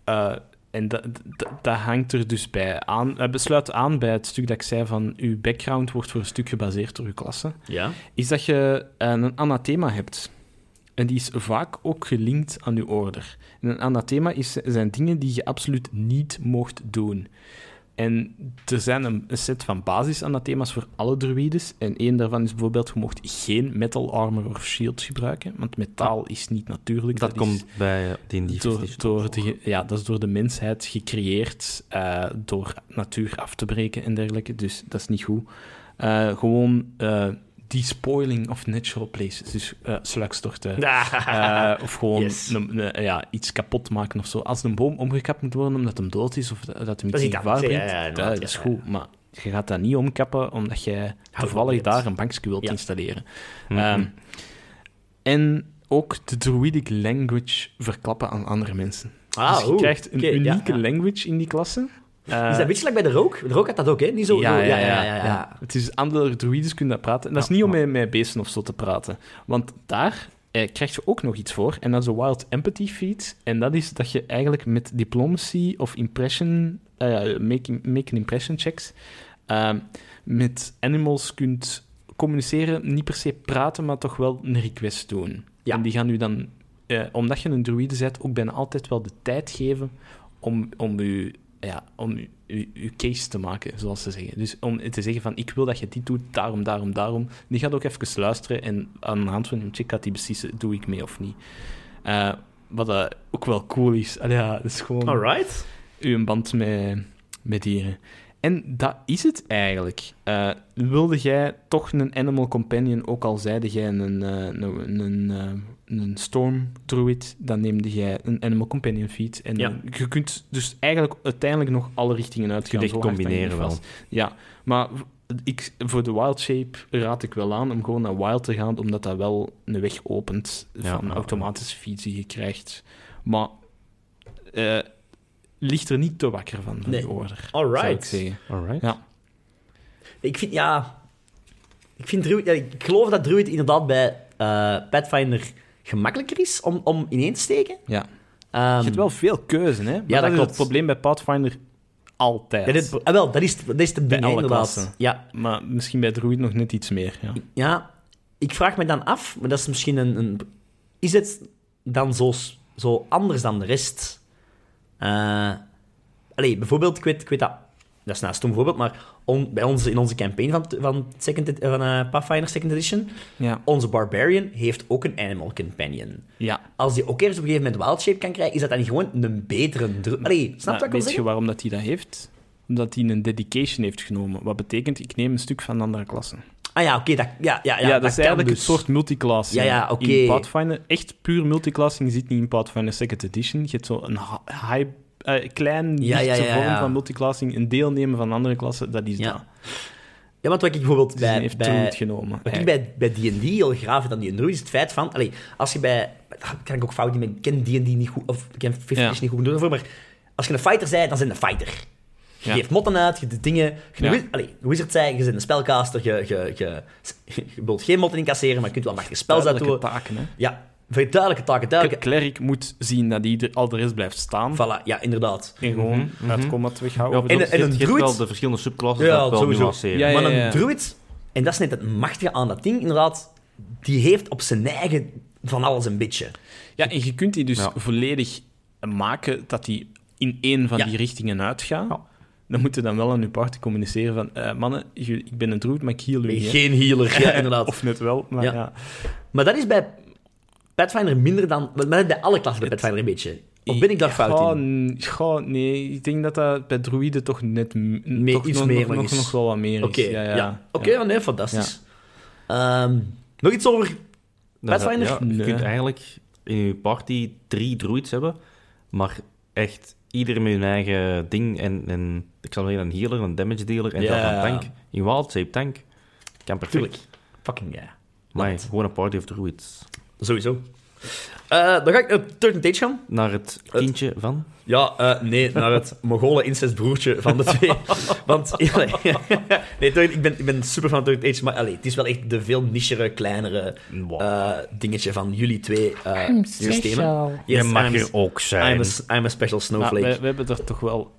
Speaker 3: eh, en dat, dat, dat hangt er dus bij aan, eh, besluit aan bij het stuk dat ik zei van uw background wordt voor een stuk gebaseerd door uw klasse,
Speaker 1: Ja.
Speaker 3: is dat je eh, een anathema hebt. En die is vaak ook gelinkt aan uw order. En een anathema is, zijn dingen die je absoluut niet mocht doen. En er zijn een, een set van basis-anathema's voor alle druides. En één daarvan is bijvoorbeeld, je mocht geen metal armor of shield gebruiken, want metaal is niet natuurlijk.
Speaker 2: Dat
Speaker 3: is-
Speaker 2: komt bij eh, die in die
Speaker 3: door,
Speaker 2: Fifth
Speaker 3: door de, ge- ja, dat is door de mensheid gecreëerd, eh, door natuur af te breken en dergelijke. Dus dat is niet goed. Eh, gewoon eh despoiling of natural places. Dus eh sluikstorten. Eh, of gewoon
Speaker 1: Yes.
Speaker 3: een- een- ja, iets kapot maken of zo. Als een boom omgekapt moet worden omdat hem dood is of dat, dat
Speaker 1: Dat
Speaker 3: hem iets
Speaker 1: is
Speaker 3: in
Speaker 1: iets
Speaker 3: gevaar
Speaker 1: anders, ja,
Speaker 3: brengt, eh,
Speaker 1: ja, ja,
Speaker 3: dat,
Speaker 1: inderdaad,
Speaker 3: is
Speaker 1: ja,
Speaker 3: goed. Maar je gaat dat niet omkappen omdat jij toevallig
Speaker 1: niet.
Speaker 3: daar een bankje wilt
Speaker 1: Ja.
Speaker 3: installeren.
Speaker 2: Mhm.
Speaker 3: Ehm, en ook de druidic language verklappen aan andere mensen.
Speaker 1: Ah,
Speaker 3: dus je
Speaker 1: oeh.
Speaker 3: krijgt een
Speaker 1: Oké, ja,
Speaker 3: unieke
Speaker 1: ja.
Speaker 3: language in die klasse.
Speaker 1: Is dat een beetje like bij de rook? De rook had dat ook, hè? Niet zo...
Speaker 3: ja,
Speaker 1: zo-
Speaker 3: ja, ja, ja,
Speaker 1: ja.
Speaker 3: Het is andere druides kunnen dat praten. En dat is
Speaker 2: Ja,
Speaker 3: niet om
Speaker 2: maar-
Speaker 3: met, met beesten of zo te praten. Want daar eh, krijg je ook nog iets voor. En dat is de Wild Empathy Feed. En dat is dat je eigenlijk met diplomacy of impression... eh, make, make an impression checks... ehm, met animals kunt communiceren. Niet per se praten, maar toch wel een request doen.
Speaker 1: Ja.
Speaker 3: En die gaan u dan... eh, omdat je een druïde bent, ook bijna altijd wel de tijd geven om, om je ja, om u- u- uw case te maken, zoals ze zeggen. Dus om te zeggen van, ik wil dat je dit doet, daarom, daarom, daarom. Die gaat ook even luisteren en aan de hand van hun check gaat die beslissen, doe ik mee of niet. Eh, wat eh, ook wel cool is. Allee, ja, dat is gewoon
Speaker 1: Alright.
Speaker 3: uw band met, met dieren. En dat is het eigenlijk. Eh, wilde jij toch een animal companion, ook al zeide jij een, eh, een, een, eh, een storm druid, dan neemde jij een animal companion feed. En eh,
Speaker 1: Ja.
Speaker 3: je kunt dus eigenlijk uiteindelijk nog alle richtingen uitgaan.
Speaker 2: Je kunt echt
Speaker 3: zo hard hang je
Speaker 2: combineren
Speaker 3: vast. Ja, maar ik, voor de wild shape raad ik wel aan om gewoon naar wild te gaan, omdat dat wel een weg opent
Speaker 2: Ja,
Speaker 3: van
Speaker 2: ja.
Speaker 3: automatische feeds die je krijgt. Maar eh ligt er niet te wakker van, van
Speaker 1: Nee.
Speaker 3: die order, zou ik
Speaker 1: Alright. Ik,
Speaker 3: zeggen.
Speaker 2: Alright.
Speaker 3: Ja.
Speaker 1: vind, ja... Ik vind Druid... Ja, ik geloof dat Druid inderdaad bij eh, Pathfinder gemakkelijker is om, om ineen te steken.
Speaker 3: Ja.
Speaker 1: Ehm,
Speaker 3: Je hebt wel veel keuze, hè? Maar
Speaker 1: dat
Speaker 3: dat is
Speaker 1: klopt.
Speaker 3: het probleem bij Pathfinder altijd.
Speaker 1: ja, dit- ah, wel, dat is, dat is de
Speaker 3: Bij
Speaker 1: ding,
Speaker 3: alle
Speaker 1: inderdaad.
Speaker 3: klassen.
Speaker 1: Ja,
Speaker 3: Maar misschien bij Druid nog net iets meer, ja.
Speaker 1: Ja, ik vraag me dan af, maar dat is misschien een. een is het dan zo, s- zo anders dan de rest? Eh allee, bijvoorbeeld, ik weet, ik weet dat. Dat is nou een stom voorbeeld, maar on- bij ons, in onze campaign van, van, second, ed- eh, van eh, Pathfinder Second Edition,
Speaker 3: Ja.
Speaker 1: onze Barbarian heeft ook een Animal Companion.
Speaker 3: ja.
Speaker 1: Als die ook ergens op een gegeven moment Wild Shape kan krijgen, is dat dan niet gewoon een betere druid? Allee, snap je
Speaker 3: Maar
Speaker 1: wat ik wil
Speaker 3: weet je
Speaker 1: zeggen?
Speaker 3: waarom dat hij dat heeft? Omdat hij een dedication heeft genomen. Wat betekent, ik neem een stuk van een andere klasse.
Speaker 1: Ah ja, oké, dat, ja, ja, ja,
Speaker 3: Ja, dat is
Speaker 1: kan
Speaker 3: eigenlijk
Speaker 1: dus.
Speaker 3: een soort multiclassing.
Speaker 1: Ja, ja, oké.
Speaker 3: In Pathfinder, echt puur multiclassing zit niet in Pathfinder Second Edition. Je hebt zo'n hi- hi- eh, klein,
Speaker 1: Ja, ja,
Speaker 3: lichte
Speaker 1: ja,
Speaker 3: vorm
Speaker 1: ja.
Speaker 3: van multiclassing. Een deelnemen van een andere klasse, dat is
Speaker 1: Ja,
Speaker 3: dat.
Speaker 1: Ja, want wat ik bijvoorbeeld
Speaker 3: Dus hij
Speaker 1: bij,
Speaker 3: heeft
Speaker 1: bij,
Speaker 3: Druid genomen.
Speaker 1: Wat ik
Speaker 3: eigenlijk.
Speaker 1: bij bij D&D heel graaf vind aan die druid is het feit van... Allee, als je bij... ah, Kan ik ook fout niet, maar ik ken D&D niet goed... Of ik ken 50
Speaker 3: Ja.
Speaker 1: niet goed doen ervoor, maar... Als je een fighter bent, dan zijn je een fighter. Je
Speaker 3: Ja.
Speaker 1: geeft motten uit, je doet dingen... Je
Speaker 3: Ja.
Speaker 1: ja. allee, een wizard zijn, je bent een spelcaster, je, je, je, je wilt geen motten incasseren, maar je kunt wel machtige spels
Speaker 3: Duidelijke
Speaker 1: uitdoen.
Speaker 3: taken, hè.
Speaker 1: Ja, voor duidelijke taken,
Speaker 3: Elke
Speaker 1: duidelijke...
Speaker 3: klerk moet zien dat hij al de rest blijft staan.
Speaker 1: Voilà, ja, inderdaad.
Speaker 3: En gewoon
Speaker 2: Mhm,
Speaker 3: uit
Speaker 2: mhm.
Speaker 3: combat
Speaker 2: Ja,
Speaker 3: weghouden.
Speaker 2: op
Speaker 1: en- en
Speaker 2: zich, je
Speaker 1: een
Speaker 2: hebt- je hebt
Speaker 1: druid-
Speaker 2: wel de verschillende subklassen
Speaker 1: Ja,
Speaker 2: dat wel
Speaker 1: sowieso.
Speaker 2: nuanceren.
Speaker 3: Ja, ja.
Speaker 1: maar een druid, en dat is net het machtige aan dat ding, inderdaad... Die heeft op zijn eigen van alles een beetje.
Speaker 3: Ja, en je kunt die dus
Speaker 2: Ja.
Speaker 3: volledig maken dat die in één van
Speaker 1: Ja.
Speaker 3: die richtingen uitgaan.
Speaker 2: Ja.
Speaker 3: Dan moeten dan wel aan uw party communiceren van... eh, mannen, jullie- ik ben een druid, maar ik heal jullie. hè.
Speaker 1: Geen healer, ja, inderdaad.
Speaker 3: Of net wel, maar
Speaker 1: Ja.
Speaker 3: ja.
Speaker 1: Maar dat is bij Pathfinder minder dan... Maar dat is bij alle klassen bij Pathfinder een beetje. Of ben ik daar fout in?
Speaker 3: in? nee, ik denk dat dat bij druiden toch net... m-
Speaker 1: Meer-
Speaker 3: toch
Speaker 1: iets
Speaker 3: nog,
Speaker 1: meer
Speaker 3: nog,
Speaker 1: nog
Speaker 3: nog,
Speaker 1: is.
Speaker 3: nog wel wat meer is.
Speaker 1: Oké,
Speaker 3: ja, ja.
Speaker 1: Oké, ja, nee, fantastisch. Ehm, nog iets over...
Speaker 2: Dat is-
Speaker 1: Pathfinder?
Speaker 2: ja, je
Speaker 3: Nee.
Speaker 2: kunt eigenlijk in je party drie druids hebben, maar echt ieder met hun eigen ding. En, en ik zal zeggen, een healer, een damage dealer en
Speaker 1: Ja.
Speaker 2: zelf een tank. In wild shape tank. Kan
Speaker 1: Tuurlijk.
Speaker 2: perfect.
Speaker 1: Fucking ja.
Speaker 2: Maar
Speaker 1: Dat.
Speaker 2: gewoon een party of druids.
Speaker 1: Sowieso. Eh, dan ga ik naar Turn Tage gaan.
Speaker 2: Naar het kindje van...
Speaker 1: Ja, eh, nee, naar het Mongolen incestbroertje van de twee. Want, nee, Turn- ik ben, ik ben super van Turn Age, maar allee, het is wel echt de veel nichere, kleinere
Speaker 2: Wow.
Speaker 1: eh, dingetje van jullie twee eh, systemen.
Speaker 2: je Nou,
Speaker 1: Yes,
Speaker 2: mag
Speaker 1: I'm-
Speaker 2: er ook zijn.
Speaker 1: I'm a, I'm a special
Speaker 3: Maar
Speaker 1: snowflake.
Speaker 3: we, we hebben er toch wel...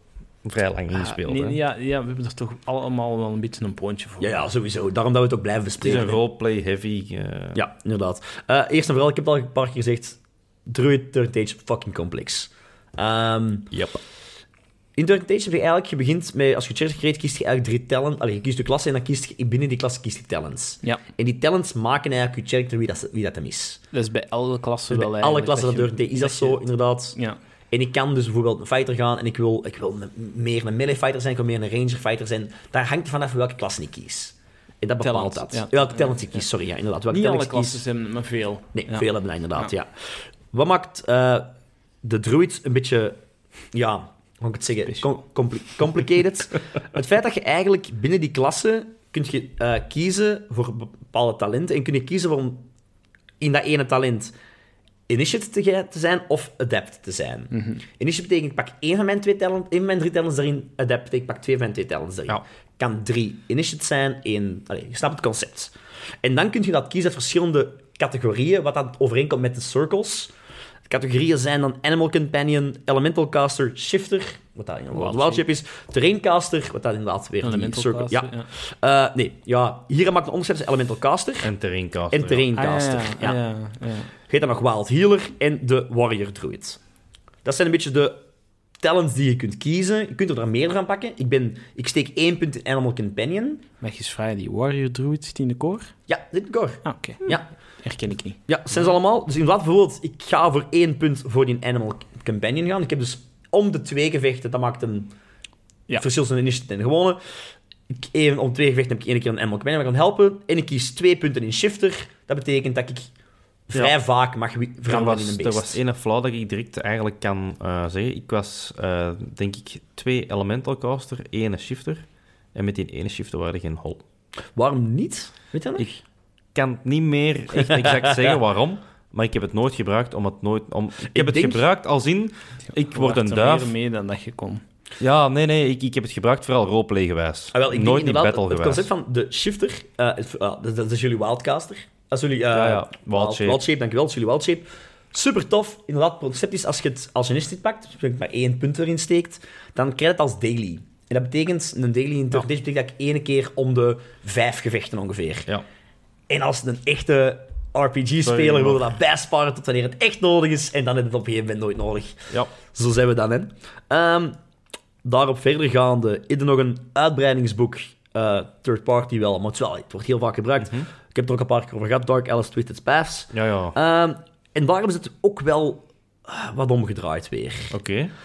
Speaker 2: Vrij lang ingespeeld.
Speaker 3: Ah, nee,
Speaker 2: hè.
Speaker 3: ja, ja, we hebben er toch allemaal wel een beetje een pontje voor.
Speaker 1: Ja, ja, sowieso. Daarom dat we het ook blijven
Speaker 2: Het is
Speaker 1: bespreken.
Speaker 2: een roleplay heavy. eh,
Speaker 1: Ja, inderdaad. Eh, eerst en vooral, ik heb het al een paar keer gezegd, Druid Third Age fucking complex. Ehm,
Speaker 2: yep.
Speaker 1: in Third Age heb je eigenlijk, je begint met, als je Church creëert, kiest je eigenlijk drie talent. Allee, je kiest de klasse en dan kiest je, binnen die klasse kiest je talents.
Speaker 3: Ja.
Speaker 1: En die talents maken eigenlijk je character wie dat, ze- wie dat hem is.
Speaker 3: Dat is bij elke klasse
Speaker 1: Dus bij
Speaker 3: wel
Speaker 1: alle
Speaker 3: eigenlijk
Speaker 1: klassen dat
Speaker 3: je-
Speaker 1: Third Age is dat
Speaker 3: je-
Speaker 1: zo, inderdaad.
Speaker 3: Ja.
Speaker 1: En ik kan dus bijvoorbeeld een fighter gaan en ik wil, ik wil een- meer een melee fighter zijn, ik wil meer een ranger fighter zijn. Daar hangt vanaf welke klasse ik kies. En dat bepaalt
Speaker 3: Talent,
Speaker 1: dat.
Speaker 3: ja.
Speaker 1: Welke talent ik kies, sorry, ja, inderdaad. Welke
Speaker 3: Niet
Speaker 1: talent
Speaker 3: alle
Speaker 1: ik kies.
Speaker 3: klassen hebben, maar veel.
Speaker 1: Nee,
Speaker 3: Ja.
Speaker 1: veel hebben dat inderdaad, ja. Wat maakt eh, de druid een beetje, ja, hoe moet ik het zeggen, com- compli- complicated? het feit dat je eigenlijk binnen die klasse kunt je, eh, kiezen voor bepaalde talenten en kun je kiezen voor om in dat ene talent initiate te, ge- te zijn of adept te zijn.
Speaker 3: Mhm.
Speaker 1: Initiate betekent, ik pak één van mijn, twee talent, één van mijn drie talents erin, adept betekent, ik pak twee van mijn twee talents erin.
Speaker 2: Ja.
Speaker 1: Kan drie initiate zijn, één... Allee, je snapt het concept. En dan kun je dat kiezen uit verschillende categorieën, wat dan overeenkomt met de circles. Categorieën zijn dan Animal Companion, Elemental Caster, Shifter, wat dat inderdaad
Speaker 3: Wild
Speaker 1: Wild Shape is, Terrain Caster, wat dat inderdaad weer die
Speaker 3: Elemental
Speaker 1: circle...
Speaker 3: klassen,
Speaker 1: Ja. Eh, nee, ja, hier maakt een onderscheid tussen Elemental Caster
Speaker 2: En terreincaster.
Speaker 1: en Terrain
Speaker 3: Ah, ja,
Speaker 1: Caster. ja.
Speaker 3: ja, ja, ja.
Speaker 1: Je hebt dan nog Wild Healer en de Warrior Druid. Dat zijn een beetje de talents die je kunt kiezen. Je kunt er daar meer van pakken. Ik, ben, ik steek één punt in Animal Companion.
Speaker 3: Maar je is vrij, die warrior druid zit die in de koor?
Speaker 1: Ja, dit gore.
Speaker 3: Ah, oké.
Speaker 1: Ja.
Speaker 3: Herken ik niet.
Speaker 1: Ja, zijn ze allemaal. Dus inderdaad, bijvoorbeeld, ik ga voor één punt voor die Animal Companion gaan. Ik heb dus om de twee gevechten, dat maakt een
Speaker 3: Ja.
Speaker 1: verschil tussen initiative en gewone. Ik, één, om twee gevechten heb ik één keer een Animal Companion dat kan helpen. En ik kies twee punten in Shifter. Dat betekent dat ik vrij vaak mag wi-
Speaker 2: Er
Speaker 1: veranderen in
Speaker 2: was,
Speaker 1: een
Speaker 2: er
Speaker 1: beest.
Speaker 2: was één flauw dat ik direct eigenlijk kan eh, zeggen. Ik was, eh, denk ik, twee elemental caster, één shifter. En met die ene shift waren er geen hol.
Speaker 1: Waarom niet? Weet je dat? nog?
Speaker 2: Ik kan het niet meer echt exact zeggen waarom, maar ik heb het nooit gebruikt om het nooit... Om, ik heb het
Speaker 1: denk-
Speaker 2: gebruikt als in, ik word een
Speaker 3: Wacht er
Speaker 2: duif.
Speaker 3: meer mee dan dat je kon.
Speaker 2: Ja, nee, nee, ik, ik heb het gebruikt vooral roleplaygewijs.
Speaker 1: Ah, wel, ik
Speaker 2: nooit
Speaker 1: denk
Speaker 2: in
Speaker 1: inderdaad het,
Speaker 2: battle
Speaker 1: het concept
Speaker 2: gewijs.
Speaker 1: van de shifter, eh, het- ah, dat, dat is jullie wildcaster. Dat is jullie eh,
Speaker 2: Ja, ja,
Speaker 1: Wild-
Speaker 2: wildshape.
Speaker 1: Wildshape, dankjewel. Dat is jullie Wildshape. Super tof. Inderdaad, het concept is als je het als je een instinct pakt, dus je maar één punt erin steekt, dan krijg je het als daily. En dat betekent, een daily in Tortage betekent dat ik één keer om de vijf gevechten ongeveer.
Speaker 2: Ja.
Speaker 1: En als een echte RPG-speler
Speaker 2: Sorry,
Speaker 1: wil je dat bijsparen tot wanneer het echt nodig is, en dan heb je het op een gegeven moment nooit nodig.
Speaker 2: Ja.
Speaker 1: Zo zijn we dan, hè. Ehm, daarop verder gaande is er nog een uitbreidingsboek. eh, third party wel, maar het, is wel, het wordt heel vaak gebruikt.
Speaker 2: Mhm.
Speaker 1: Ik heb het er ook een paar keer over gehad. Dark Alice Twisted Paths.
Speaker 2: Ja, ja. Oké.
Speaker 1: Ehm, en daarom is het ook wel eh, wat omgedraaid weer.